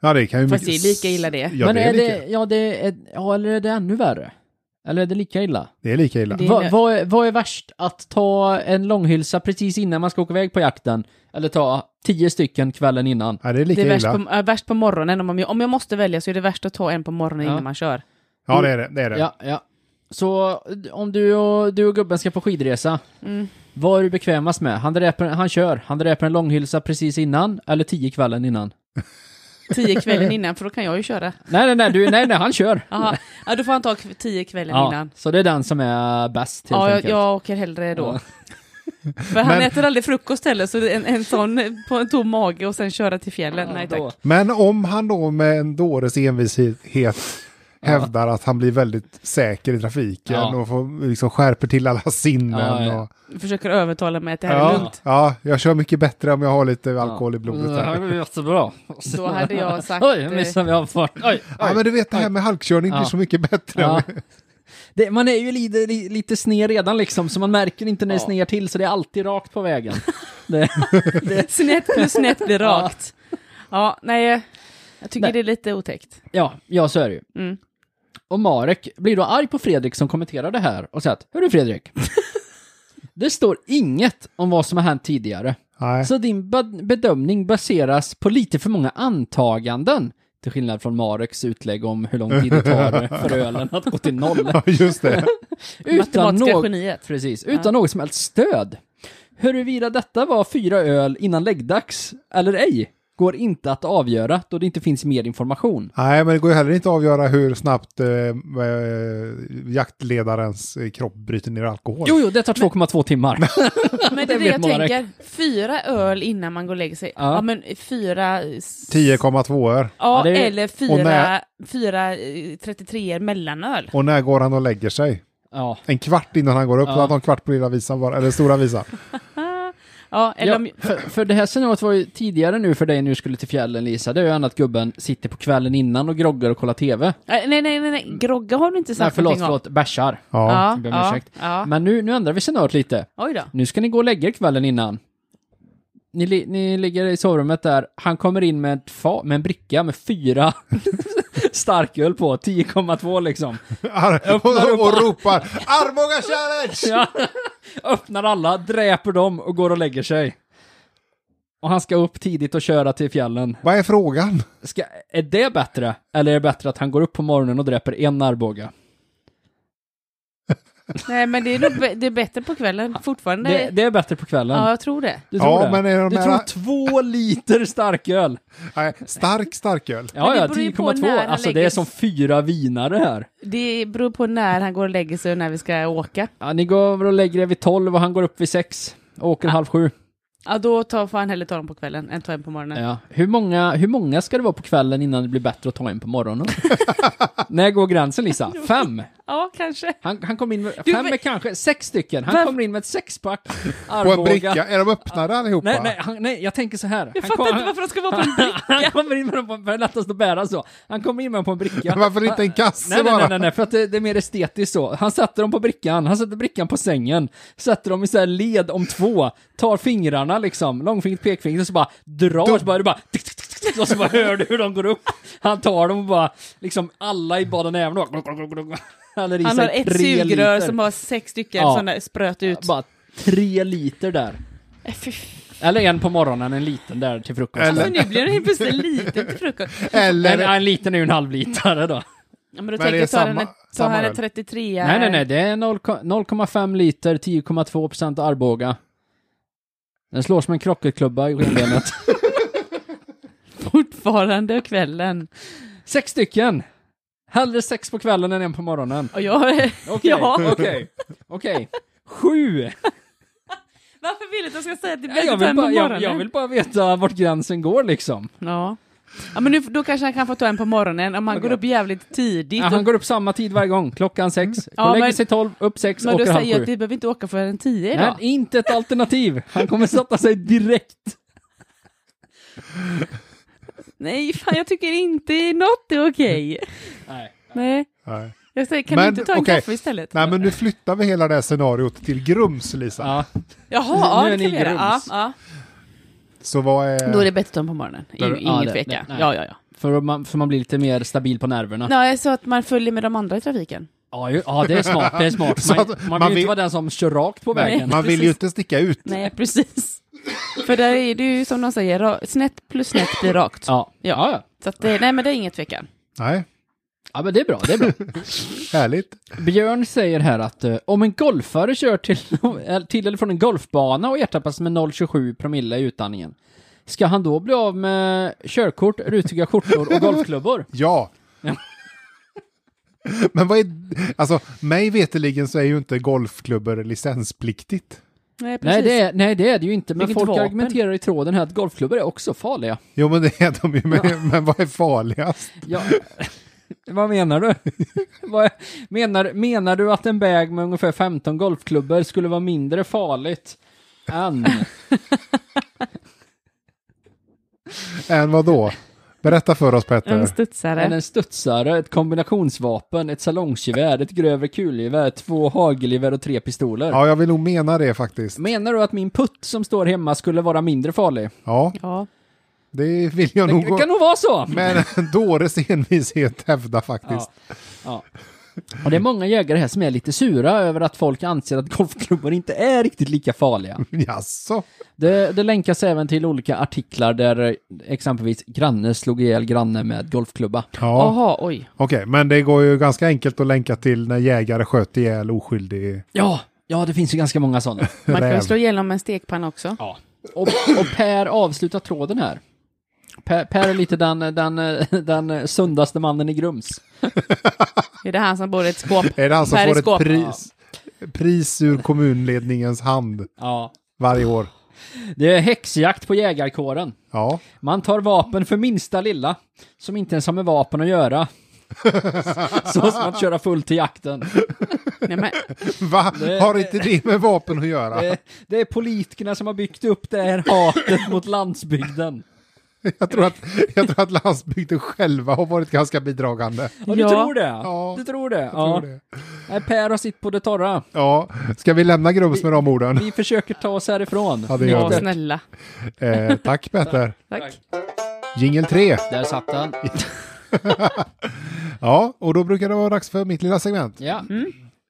C: ja det kan ju...
B: Fast
C: mycket-
B: det är lika illa det.
C: Ja,
A: Men
C: det, är lika,
A: det, ja, det är, ja, eller är det ännu värre? Eller är det lika illa?
C: det är lika illa.
B: Det- är
A: Va,
B: det.
A: vad, är, vad är värst? Att ta en långhylsa precis innan man ska åka iväg på jakten? Eller ta tio stycken kvällen innan?
C: Ja, det är lika
B: det är värst
C: illa.
B: på, äh, värst på morgonen. Om, jag- om jag måste välja så är det värst att ta en på morgonen
A: Ja.
B: innan man kör.
C: Ja, det är det. det, är det.
A: Ja, ja. Så om du och, du och gubben ska på skidresa,
B: Mm.
A: vad är du bekvämast med? Han, dräper, han kör, han dräper en långhylsa precis innan, eller tio kvällen innan?
B: Tio kvällen innan, för då kan jag ju köra.
A: Nej, nej, nej, du, nej, nej han kör!
B: Aha. Ja, då får han ta kv- tio kvällen
A: Ja,
B: innan.
A: så det är den som är bäst helt
B: Ja, jag,
A: enkelt.
B: jag åker hellre då. För han
C: Men-
B: äter aldrig frukost heller, så en, en sån på en tom mage och sen köra till fjällen. Nej
A: Då.
B: tack.
C: Men om han då med en dåres envishet hävdar att han blir väldigt säker i trafiken
A: Ja.
C: och får, liksom skärper till alla sinnen.
A: Ja, ja.
C: Och,
B: Försöker övertala mig att det här är
C: ja,
B: lugnt.
C: ja, jag kör mycket bättre om jag har lite alkohol i blodet.
A: Det här
C: Här.
A: var ju jättebra.
B: Då hade jag sagt...
A: Oj, nu
B: eh,
A: missade vi avfart. Oj,
C: Ja,
A: oj.
C: men du vet det här med halkkörning
A: Ja.
C: blir så mycket bättre.
A: Ja. Det, man är ju lite, li- lite sned redan liksom, så man märker inte när det
B: Ja.
A: snear till, så det är alltid rakt på vägen. Det,
B: Snett plus snett blir rakt. Ja, nej. eh, Jag tycker
A: Nej.
B: det är lite otäckt.
A: ja, ja, så är det ju.
B: Mm.
A: Och Marek blir då arg på Fredrik som kommenterar det här och säger att Hörru Fredrik, det står inget om vad som har hänt tidigare.
C: Nej.
A: Så din bad- bedömning baseras på lite för många antaganden. Till skillnad från Mareks utlägg om hur lång tid det tar för ölen att gå till noll.
C: Ja, just det.
A: Utan
B: Matematiska
A: något
B: geniet.
A: Precis, utan något som helst stöd. Huruvida detta var fyra öl innan läggdags eller ej går inte att avgöra då det inte finns mer information.
C: Nej, men det går ju heller inte att avgöra hur snabbt eh, eh, jaktledarens eh, kropp bryter ner alkohol.
A: Jo, jo, det tar 2,2 timmar.
B: Men det är det
A: vet
B: jag
A: Marek.
B: tänker. Fyra öl innan man går och lägger sig.
A: Ja.
B: Ja, men fyra... s-
C: 10,2 år.
B: Ja,
A: Ja, det är-
B: eller
C: Och
B: fyra,
C: när-
B: fyra eh, 33 mellanöl.
C: Och när går han och lägger sig?
A: Ja.
C: En kvart innan han går upp,
A: Ja.
C: så att han en kvart på lilla visan bara, eller stora visan.
B: Ja, eller
A: Ja,
B: om...
A: för, för det här scenariot var ju tidigare nu för dig när du skulle till fjällen, Lisa. Det är ju ändå att gubben sitter på kvällen innan och groggar och kollar TV.
B: Nej, nej, nej, nej. Grogga har du inte
A: Mm. Nej,
B: sagt
A: förlåt,
B: någonting om.
A: förlåt, bärsar.
C: Ja.
B: Ja,
A: Jag ber om
B: ja,
A: ursäkt.
B: ja.
A: Men nu, nu ändrar vi scenariot lite.
B: Oj då.
A: Nu ska ni gå och lägga er kvällen innan. Ni, li, ni ligger i sovrummet där. Han kommer in med, ett fa, med en bricka med fyra starköl på, 10,2 liksom.
C: Ar-
A: upp
C: och, och
A: ar-
C: ropar Arboga challenge!
A: Ja. Öppnar alla, dräper dem och går och lägger sig. Och han ska upp tidigt och köra till fjällen.
C: Vad är frågan?
A: Ska, är det bättre? Eller är det bättre att han går upp på morgonen och dräper en Arboga?
B: Nej, men det är, nog bä- det är bättre på kvällen fortfarande.
A: Det, det är bättre på kvällen.
B: Ja, jag tror det.
A: Du tror
C: Ja,
A: det?
C: men är de
A: du
C: här-
A: tror två liter starköl?
C: Nej, stark starköl.
A: Ja,
B: det
A: ja,
B: beror ju på när
A: 10,2.
B: han
A: Alltså det
B: lägger-
A: är som fyra vinare här.
B: Det beror på när han går och lägger sig och när vi ska åka.
A: Ja, ni går över och lägger er vid 12 och han går upp vid 6 och åker halv sju.
B: Ja, då tar, får han hellre ta dem på kvällen än ta en på morgonen.
A: Ja. Hur, många, hur många ska det vara på kvällen innan det blir bättre att ta in på morgonen? När går gränsen Lisa? Fem?
B: Ja, kanske.
A: Han, han kom in med,
B: Du,
A: fem
B: men-
A: är kanske, sex stycken. Han
B: Vem-
A: kommer in med ett sexpack
C: På
A: Arboga.
C: en bricka, är de öppnade allihopa?
A: Nej, nej, han, nej, jag tänker så här.
B: Jag
A: Han
B: fattar
A: kom-
B: inte varför de ska vara på en bricka.
A: Han kommer in med dem på, för det är lättast att bära så. Han kommer in med dem på en bricka.
C: Men Varför inte en kasse
A: Nej, nej,
C: bara?
A: nej, nej, nej, för att det, det är mer estetiskt så. Han sätter dem på brickan, han sätter brickan på sängen, sätter dem i så här led om två, tar fingrarna liksom, långfingret, pekfingret, och så bara drar, så bara, det bara tick, tick, tick, tick, och så bara hör du hur de går upp. Han tar dem och bara, liksom alla i baden även och bara, häller i
B: Han
A: sig
B: har ett
A: tre
B: sugrör
A: liter.
B: som har sex stycken
A: Ja.
B: sådana spröt ut.
A: Bara tre liter där.
B: Äh, fy
A: Eller en på morgonen, en liten där till frukosten.
B: Alltså,
A: Eller...
B: nu blir det helt plötsligt liten till frukost.
A: En,
C: Eller,
A: en liten är ju en halvlitare då.
B: Ja, men då
C: det
B: tänker
C: är
B: jag ta
C: samma-
B: den ta
C: samma
B: här
C: öl.
B: 33
A: Nej, nej, nej, det är 0, 0,5 liter, 10,2 procent Arboga. Den slår som en krocketklubba i skenbenet.
B: fortfarande kvällen.
A: sex stycken! Hellre sex på kvällen än en på morgonen.
B: Och jag...
A: Okej,
B: Ja.
A: okej, okej. Sju!
B: Varför vill du att jag ska säga att det
A: Nej,
B: blir
A: jag,
B: ta
A: vill
B: en på
A: bara,
B: morgonen?
A: jag, jag vill bara veta vart gränsen går liksom.
B: Ja. ja, men nu, då kanske han kan få ta en på morgonen om han går upp jävligt tidigt.
A: Ja,
B: och-
A: han går upp samma tid varje gång, klockan sex. Går
B: Mm. Ja,
A: och lägger
B: men-
A: sig tolv, upp sex,
B: men liksom då
A: åker halv
B: säger jag att
A: sju.
B: vi behöver inte åka förrän 10
A: Nej,
B: idag.
A: inte ett alternativ. Han kommer sätta sig direkt.
B: Nej, fan jag tycker inte något är okej.
A: Nej.
B: Nej.
C: nej.
B: Jag säger, kan du
C: Men,
B: inte ta en
C: okej.
B: kaffe istället?
C: Nej, men nu flyttar vi hela det här scenariot till Grums, Lisa.
A: Ja.
B: Jaha,
A: Nu är
B: ja, det
A: ni
B: kan vi göra. Ja,
A: grums.
B: ja.
C: Så vad är...
B: Då är det bättre att ta dem på morgonen.
A: Ja,
B: Ingen
A: det-
B: tveka.
A: nej.
B: Ja, ja, ja.
A: För man, för man blir lite mer stabil på nerverna.
B: Nej, så att man följer med de andra i trafiken.
A: Ja, ju, ja, det är smart. Det är smart.
C: Så
A: Man,
C: att
A: man vill
C: man
A: ju
C: vill-
A: inte vara den som kör rakt på vägen.
C: Man vill ju inte sticka ut.
B: Nej, precis. För där är det ju som de säger, ra- snett plus snett blir rakt.
A: Ja.
B: Ja.
A: Ja, ja.
B: Så att det, nej, men det är inget tvekan.
C: Nej,
A: ja, men det är bra. Det är bra.
C: härligt.
A: Björn säger här att eh, om en golfare kör till, eh, till eller från en golfbana och ertappas med 0,27 promille i utandningen, ska han då bli av med körkort, rutiga skjortor och golfklubbor?
C: Ja. men vad är... Alltså, mig veteligen så är ju inte golfklubbor licenspliktigt.
B: Nej, precis.
A: Nej det, är, nej, det är det ju inte, men
B: Vilket
A: folk
B: vapen.
A: argumenterar i tråden här att golfklubbor är också farliga.
C: Jo, men det är de ju. Men, men vad är farligast?
A: Ja. Vad menar du? Vad, menar, menar du att en bag med ungefär 15 golfklubbor skulle vara mindre farligt än...
C: Än vad då? Berätta för oss,
B: En
C: Petter.
A: än
B: studsare.
A: en studsare, ett kombinationsvapen, ett salongsgevär, ett grövre kulgevär, två hagelgevär och tre pistoler.
C: Ja, jag vill nog mena det faktiskt.
A: Menar du att min putt som står hemma skulle vara mindre farlig?
C: Ja,
B: Ja.
C: det vill jag
A: Det,
C: nog...
A: det kan nog vara så!
C: Men en dåres envishet hävda faktiskt.
A: Ja. Och det är många jägare här som är lite sura över att folk anser att golfklubbor inte är riktigt lika farliga.
C: Jaså?
A: Det, det länkas även till olika artiklar där eh, exempelvis granne slog ihjäl granne med golfklubba.
C: Ja,
B: Jaha, oj.
C: okej. Men det går ju ganska enkelt att länka till när jägare sköt ihjäl oskyldig.
A: Ja, ja det finns ju ganska många sådana.
B: Man kan
C: Räv.
B: ju slå igenom en stekpanna också.
A: ja. och, och Per avslutar tråden här. Per, per är lite den, den, eh, den sundaste mannen i Grums.
B: Är det han som bor i ett skåp?
C: Är det han som
B: Per i
C: får ett
B: skåp.
C: pris, pris ur kommunledningens hand
A: Ja.
C: varje år?
A: Det är häxjakt på jägarkåren.
C: Ja,
A: Man tar vapen för minsta lilla, som inte ens har med vapen att göra. Så som att köra fullt till jakten.
B: Nej, men,
C: va? Har inte det med vapen att göra?
A: Det, det är politikerna som har byggt upp det här hatet mot landsbygden.
C: Jag tror att, jag tror att landsbygden själva har varit ganska bidragande.
A: Ja, du
B: Ja.
A: tror det?
C: Ja,
A: du tror det?
C: Tror
A: Ja.
C: det.
A: Nej, Per har sitt på det torra.
C: Ja, ska vi lämna Grums med de orden?
A: Vi försöker ta oss härifrån.
C: Ja, det
B: ja,
C: gör vi.
B: snälla.
C: Eh, tack Peter.
B: Tack.
C: Jingel 3.
A: Där satt den.
C: Ja, och då brukar det vara dags för mitt lilla segment.
A: Ja.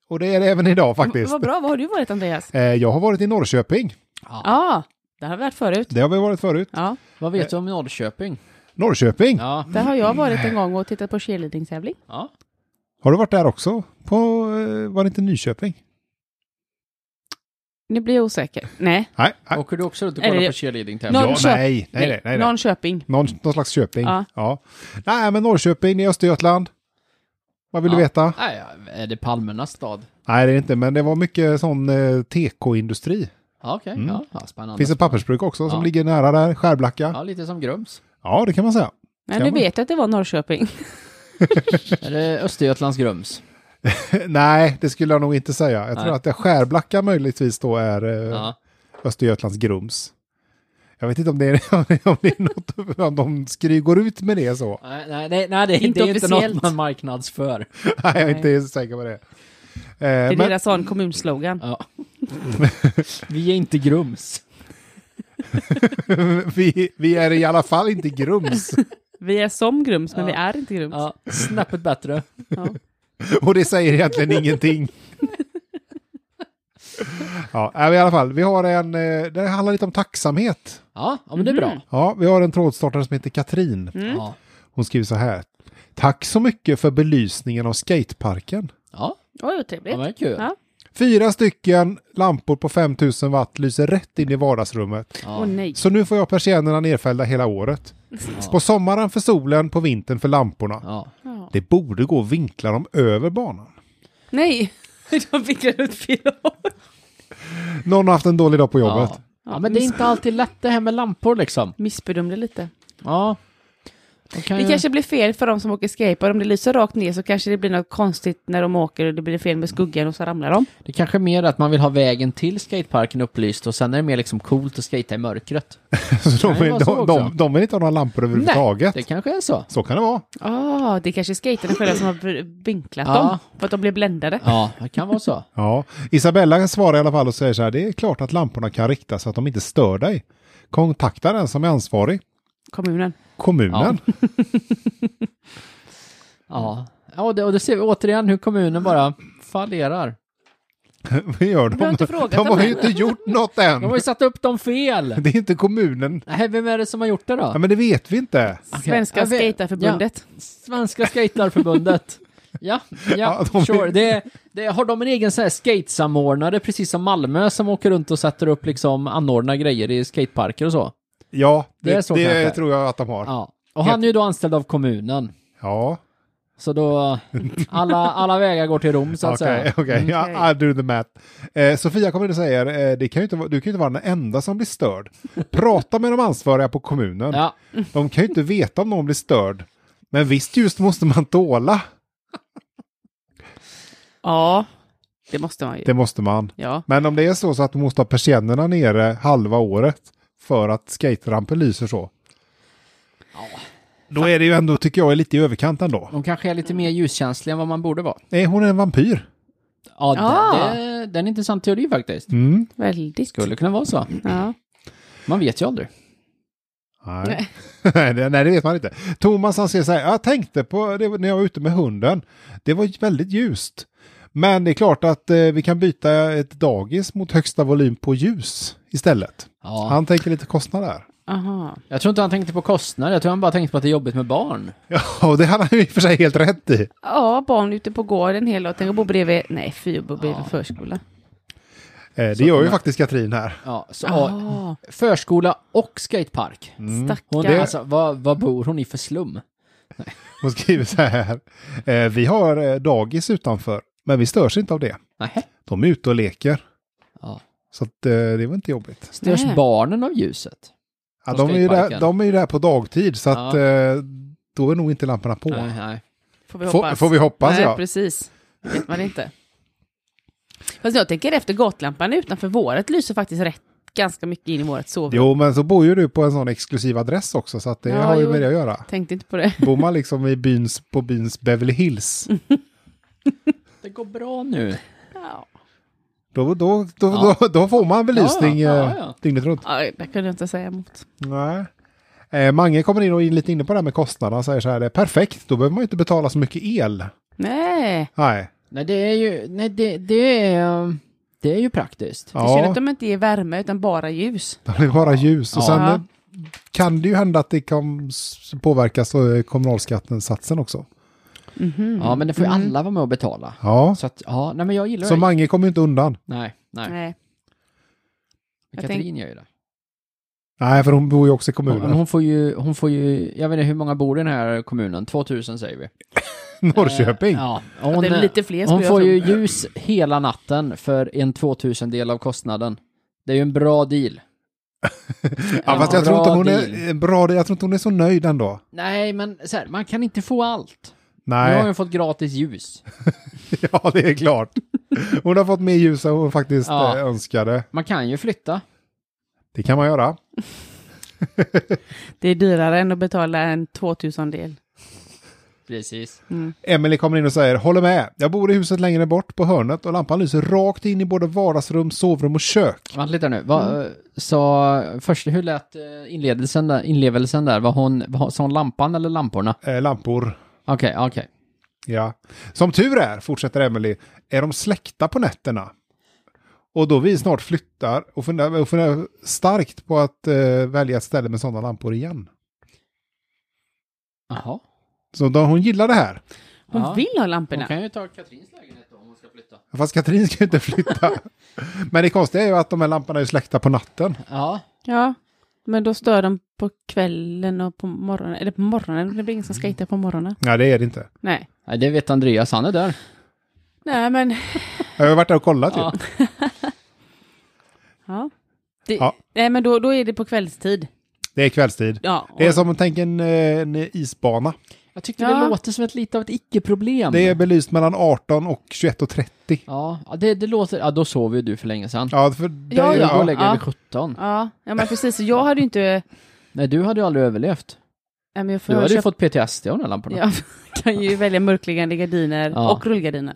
C: Och det är det även idag faktiskt.
B: Vad bra, var har du varit Andreas?
C: Eh, jag har varit i Norrköping.
B: Ja, där har vi varit förut.
C: Det har vi varit förut.
B: Ja,
A: Vad vet du om Norrköping?
C: Norrköping.
A: Ja.
B: där har jag varit en gång och tittat på cheerleadingtävling.
A: ja.
C: Har du varit där också? På, eh, var det inte Nyköping?
B: Nu blir jag osäker. Nej,
C: Nej, nej.
A: Åker du också runt och
B: Är
A: kollar
B: det-
A: på cheerleading
B: Norr-
A: tävling?
C: ja,
B: Norrköping.
C: nej, nej, nej, nej. nej.
B: Norrköping.
C: Någon, någon slags Köping. Ja.
B: Ja.
C: Nej, men Norrköping, det är Östergötland. Vad vill
A: Ja.
C: du veta?
A: Nej, ja, är det Palmernas stad?
C: Nej, det är det inte, men det var mycket sån eh, TK-industri.
A: Ja, okej.
C: Mm.
A: Ja, ja, spännande.
C: Det finns ett pappersbruk också som
A: Ja.
C: ligger nära där, Skärblacka.
A: Ja, lite som Grums.
C: Ja, det kan man säga.
B: Men
C: Kan
B: du
C: man?
B: vet jag att det var Norrköping.
A: Är det Östergötlands Grums?
C: nej, det skulle jag nog inte säga. Jag tror
A: Nej.
C: att det Skärblacka möjligtvis då är eh,
A: Ja.
C: Östergötlands Grums. Jag vet inte om det är, om det är något, om de skry, går ut med det så.
A: Nej, nej, nej, nej det,
B: Inte
A: det är inte något
B: officiellt.
A: man marknadsför.
C: Nej, jag är inte säker på det. Eh,
B: Det är
C: men,
B: deras sån kommunslogan.
A: Ja. Vi är inte Grums.
C: vi, vi är i alla fall inte Grums.
B: Vi är som Grums, men
A: Ja.
B: vi är inte Grums.
A: Ja, snäppet bättre.
B: Ja.
C: Och det säger egentligen ingenting. Ja, nej, men i alla fall, vi har en, eh, det handlar lite om tacksamhet.
A: Ja, ja men det är bra.
C: Ja, vi har en trådstartare som heter Katrin.
A: Ja.
C: Hon skriver så här. Tack så mycket för belysningen av skateparken.
A: Ja,
B: Oj, vad
A: ja,
B: trevligt.
A: men det är kul.
B: Ja.
C: Fyra stycken lampor på 5000 watt lyser rätt in i vardagsrummet.
A: Ja.
B: Åh nej.
C: Så nu får jag persiennerna nerfällda hela året. På sommaren för solen, på vintern för lamporna.
A: Ja.
B: Ja.
C: Det borde gå att vinkla dem över banan.
B: Nej, de vinklar ut fel håll.
C: Någon har haft en dålig dag på jobbet.
A: Ja. ja, men det är inte alltid lätt det här med lampor liksom.
B: Missbedömde lite.
A: Ja. De kan
B: Det
A: ju-
B: kanske blir fel för de som åker skateboard. Om det lyser rakt ner så kanske det blir något konstigt när de åker och det blir fel med skuggan och så ramlar de.
A: Det kanske är mer att man vill ha vägen till skateparken upplyst och sen är det mer liksom coolt att skata i mörkret.
C: Så
A: kan
C: de,
A: ju
C: vill-
A: vara så
C: de,
A: också.
C: de, de vill inte ha några lampor överhuvudtaget.
A: Det kanske är så.
C: Så kan det vara.
B: Ah, det är kanske är skaterna själva som har vinklat
A: Ja.
B: dem. För att de blev bländade.
A: Ja, det kan vara så.
C: Ja. Isabella svarar i alla fall och säger så här, det är klart att lamporna kan riktas så att de inte stör dig. Kontakta den som är ansvarig,
B: Kommunen.
C: kommunen.
A: Ja, ja och, det, och det ser vi återigen hur kommunen bara fallerar.
C: Vad gör de?
B: har inte frågat
C: de har
B: dem
C: ju
B: än.
C: inte gjort något än.
A: De har ju satt upp dem fel!
C: Det är inte kommunen.
A: Nej, vem är det som har gjort det
C: Ja,
A: då?
C: men det vet vi inte.
B: Svenska
A: Ja, vi-
B: Skaterförbundet.
A: Svenska Skaterförbundet. Ja, ja,
C: Ja, de-
A: sure. Det, det, har de en egen sån här skatesamordnare, precis som Malmö, som åker runt och sätter upp liksom, anordnar grejer i skateparker och så?
C: Ja, det,
A: Det
C: det,
A: är så kanske.
C: tror jag att de har. Ja.
A: Ja. Och han är ju då anställd av kommunen. Så då, alla, alla vägar går till Rom så att
C: Okej,
A: säga. Mm,
C: okej.
B: Okej.
C: Ja, I do the math. Eh, Sofia kommer in och säger, eh, det kan ju inte, vara- du kan ju inte vara den enda som blir störd. Prata med de ansvariga på kommunen.
A: Ja,
C: De kan ju inte veta om någon blir störd. Men visst just måste man tåla.
B: Ja, det måste man ju.
C: Det måste man.
B: Ja.
C: Men om det är så, så att du måste ha persiennerna nere halva året för att skaterampen lyser så. Då är det ju ändå, tycker jag, lite i överkant ändå.
A: de kanske är lite mer ljuskänsliga än vad man borde vara.
C: Nej, hon är en vampyr.
A: Ja,
B: Ah.
A: Det, det, det är en intressant teori faktiskt.
C: Mm.
B: Väldigt.
A: Skulle kunna vara så.
B: Ja.
A: Man vet ju aldrig.
C: Nej. Nej, det- nej, det vet man inte. Thomas han säger så här, jag tänkte på det var när jag var ute med hunden. Det var väldigt ljust. Men det är klart att eh, vi kan byta ett dagis mot högsta volym på ljus istället.
A: Ja.
C: Han tänker lite kostnad där.
B: Aha.
A: Jag tror inte han tänkte på kostnader, jag tror han bara tänkte på att det är jobbigt med barn.
C: Ja, och det hade han ju i och för sig helt rätt i. Eh,
B: Ja, barn ute på gården hela dagen. Tänk att bo bredvid, nej fy, bo bredvid förskola.
C: Eh, det gör ju faktiskt Katrin här.
A: Ja, så,
B: Ah,
A: Förskola och skatepark.
C: Mm,
A: Hon,
B: stackare.
A: alltså, vad, vad bor hon i för slum?
C: Hon skriver så här. Eh, vi har eh, dagis utanför, men vi störs inte av det.
A: Nähä.
C: De är ute och leker.
A: Ja.
C: Så att, eh, det var inte jobbigt.
A: Störs
B: Nej.
A: barnen av ljuset?
C: Ja,
A: På
C: de, är ju där,
A: skateparken.
C: de är ju där på dagtid så att
A: Ja.
C: eh, då är nog inte lamporna på.
A: Nej, nej.
B: Får vi
C: Får, får vi hoppas
B: Nej,
C: ja.
B: precis. Det vet man inte. Fast jag tänker efter gatlampan utanför våret lyser faktiskt rätt ganska mycket in i vårt sovrum.
C: Jo, men så bor ju du på en sån exklusiv adress också så att det
B: Ja,
C: har ju
B: jo.
C: med det att göra.
B: Tänkte inte på det.
C: Bor man liksom i byns, på byns Beverly Hills,
A: Det går bra nu.
B: Ja,
C: då, då, då,
A: Ja.
C: då, då får man belysning
A: Ja, ja,
C: eh,
A: ja.
C: dygnet runt.
B: Aj, där kunde jag inte säga emot.
C: Nej. Eh, Mange kommer in och är lite inne på det här med kostnaderna och säger så här, det är perfekt, då behöver man ju inte betala så mycket el.
B: Nej,
C: Nej,
A: Nej, det är ju, nej, det, det är, um, det är ju praktiskt.
B: det är synd
C: ja,
B: att de inte ger värme utan bara ljus.
C: det blir bara ljus. Och
A: Ja.
C: sen
B: Ja.
C: eh, kan det ju hända att det kan s- påverkas av eh, kommunalskattensatsen också.
B: Mhm. Mm.
A: Ja, men det får ju alla vara med och betala.
C: Ja,
A: Så att, ja, nej men jag gillar
C: så
A: det.
C: Mange kommer ju inte undan.
A: Nej, nej.
B: Nej.
A: Men
B: jag
A: Katrin gör ju det.
C: Nej, för hon bor ju också i
A: Hon,
C: kommunen.
A: hon får ju, hon får ju, jag vet inte hur många bor i den här kommunen? 2000 säger vi.
C: Norrköping.
A: Eh, Ja, och hon,
B: det är lite fler
A: hon
B: skulle jag
A: får
B: tro.
A: ju ljus hela natten för en 2000-del av kostnaden. Det är ju en bra deal.
C: Ja, fast
A: Bra
C: jag tror, inte hon
A: deal.
C: är, en bra, jag tror inte hon är så nöjd ändå.
A: Nej, men så här, man kan inte få allt. Nu har
C: Nej,
A: hon fått gratis ljus.
C: ja det är klart. Hon har fått mer ljus än hon faktiskt
A: Ja.
C: eh, önskade.
A: Man kan ju flytta.
C: Det kan man göra.
B: Det är dyrare än att betala en 2000-del.
A: Precis.
C: Emily kommer in och säger, håller med. Jag bor i huset längre bort på hörnet och lampan lyser rakt in i både vardagsrum, sovrum och kök.
A: Vänta lite nu. Vad, eh, Så först, hur lät eh, inledelsen där, inlevelsen där? Var hon, var, sa hon lampan eller lamporna?
C: Eh, lampor.
A: Okej, okej.
C: Ja. Som tur är, fortsätter Emily, är de släckta på nätterna. Och då vi snart flyttar och funderar, och funderar starkt på att eh, välja ett ställe med sådana lampor igen.
A: Jaha.
C: Så då, hon gillar det här.
B: Hon
A: Ja.
B: vill ha
A: Hon
B: lamporna.
A: kan ju ta Katrins lägenhet då om hon ska flytta.
C: Fast Katrin ska ju inte flytta. Men det konstiga är ju att de här lamporna är släckta på natten.
A: Ja.
B: Ja, men då stör de på kvällen och på morgonen. Eller på morgonen, det blir ingen som
A: Mm.
B: skejtar på morgonen.
C: Nej, det är det inte.
B: Nej.
A: Nej, det vet Andreas, han är där.
B: Nej, men
C: Jag har ju varit där och kollat typ.
A: Ja.
C: ju.
B: Ja. Det,
C: Ja.
B: Nej, men då, då är det på kvällstid.
C: Det är kvällstid.
B: Ja,
C: Det är som, tänk en, eh, en isbana.
A: Jag tyckte
B: Ja.
A: det låter som ett lite av ett icke-problem.
C: Det är belyst mellan 18 och 21.30.
A: Ja, ja, det, det låter... Ja, då sov ju du för länge sedan.
C: Ja, för det,
B: Ja,
A: Ja,
B: ja.
A: Gå och lägga dig
B: Ja.
A: vid 17.
B: ja, ja, men precis. Jag hade ju inte...
A: Nej, du hade ju aldrig överlevt.
B: Nej, men jag får
A: Du hade ju
B: köpa-
A: fått PTSD av de här lamporna. Ja.
B: Jag kan ju välja mörkliggande gardiner
A: Ja.
B: och rullgardiner.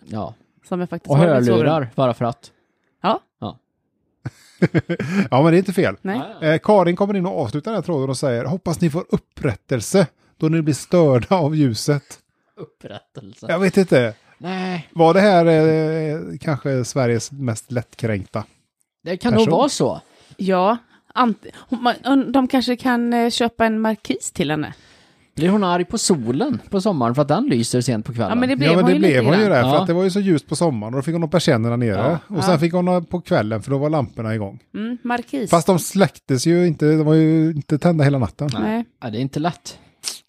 B: Som jag faktiskt
A: Och
B: har i mitt sovrum.
A: hörlurar, bara för att.
C: ja, men det är inte fel.
B: Nej.
C: Eh, Karin kommer in och avslutar den här tråden och säger hoppas ni får upprättelse då ni blir störda av ljuset.
A: Upprättelse.
C: Jag vet inte.
A: Nej,
C: Var det här eh, kanske Sveriges mest lättkränkta?
A: det kan
C: Person.
A: nog vara så.
B: Ja. Ant- hon- man- hon- de kanske kan eh, köpa en markis till henne.
A: Blir hon arg på solen på sommaren för att den lyser sent på kvällen?
B: Ja, men det blev
C: ja, men
B: hon
C: det
B: ju
C: blev
B: lite
C: hon ju
B: grann.
C: där, för
A: Ja.
C: att det var ju så ljust på sommaren och då fick hon upp persiennerna nere.
A: Ja.
C: Och sen
B: Ja.
C: fick hon ha på kvällen, för då var lamporna igång.
B: Mm, markis.
C: Fast de släcktes ju inte, de var ju inte tända hela natten.
B: Nej.
A: Ja, det är inte lätt.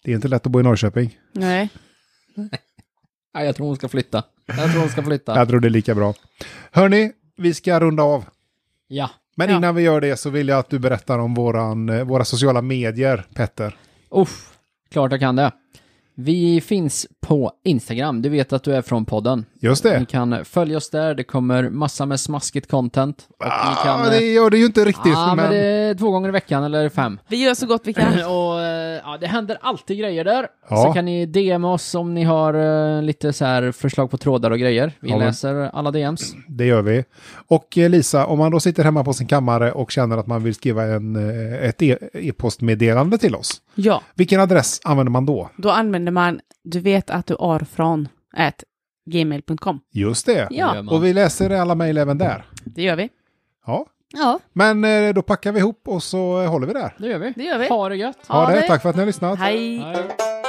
C: Det är inte lätt att bo i Norrköping.
B: Nej.
A: Nej, jag tror hon ska flytta. Jag tror hon ska flytta.
C: Jag tror det är lika bra. Hörni, vi ska runda av.
A: Ja.
C: Men
B: Ja.
C: innan vi gör det så vill jag att du berättar om våran, eh, våra sociala medier, Petter.
A: Uff, klart jag kan det. Vi finns på Instagram. Du vet att du är från podden.
C: Just
A: Ni
C: det.
A: kan följa oss där. Det kommer massa med smaskigt content. Och ni kan... eh,
C: Ah, det gör det ju inte riktigt.
A: ja, men
C: men
A: det är två gånger i veckan eller fem.
B: Vi gör så gott vi kan.
A: Och eh, ja, det händer alltid grejer där.
C: Ja.
A: Så kan ni DM oss om ni har eh, lite så här förslag på trådar och grejer. Vi
C: Ja, men-
A: läser alla DMs.
C: det gör vi. Och eh, Lisa, om man då sitter hemma på sin kammare och känner att man vill skriva en, eh, ett e- e-postmeddelande till oss,
B: Ja,
C: vilken adress använder man då?
B: då använder man du vet att du är från at gmail.com.
C: Just det.
A: Det
B: Ja,
A: gör man.
C: Och vi läser alla mejl även där.
B: det gör vi.
C: Ja.
B: Ja,
C: Men eh, då packar vi ihop och så eh, håller vi där.
A: Det gör vi.
B: det gör vi.
A: Ha det gött.
C: Ha
B: Ja,
C: det,
B: det-
C: tack för att ni har lyssnat.
B: Hej.
A: Hej.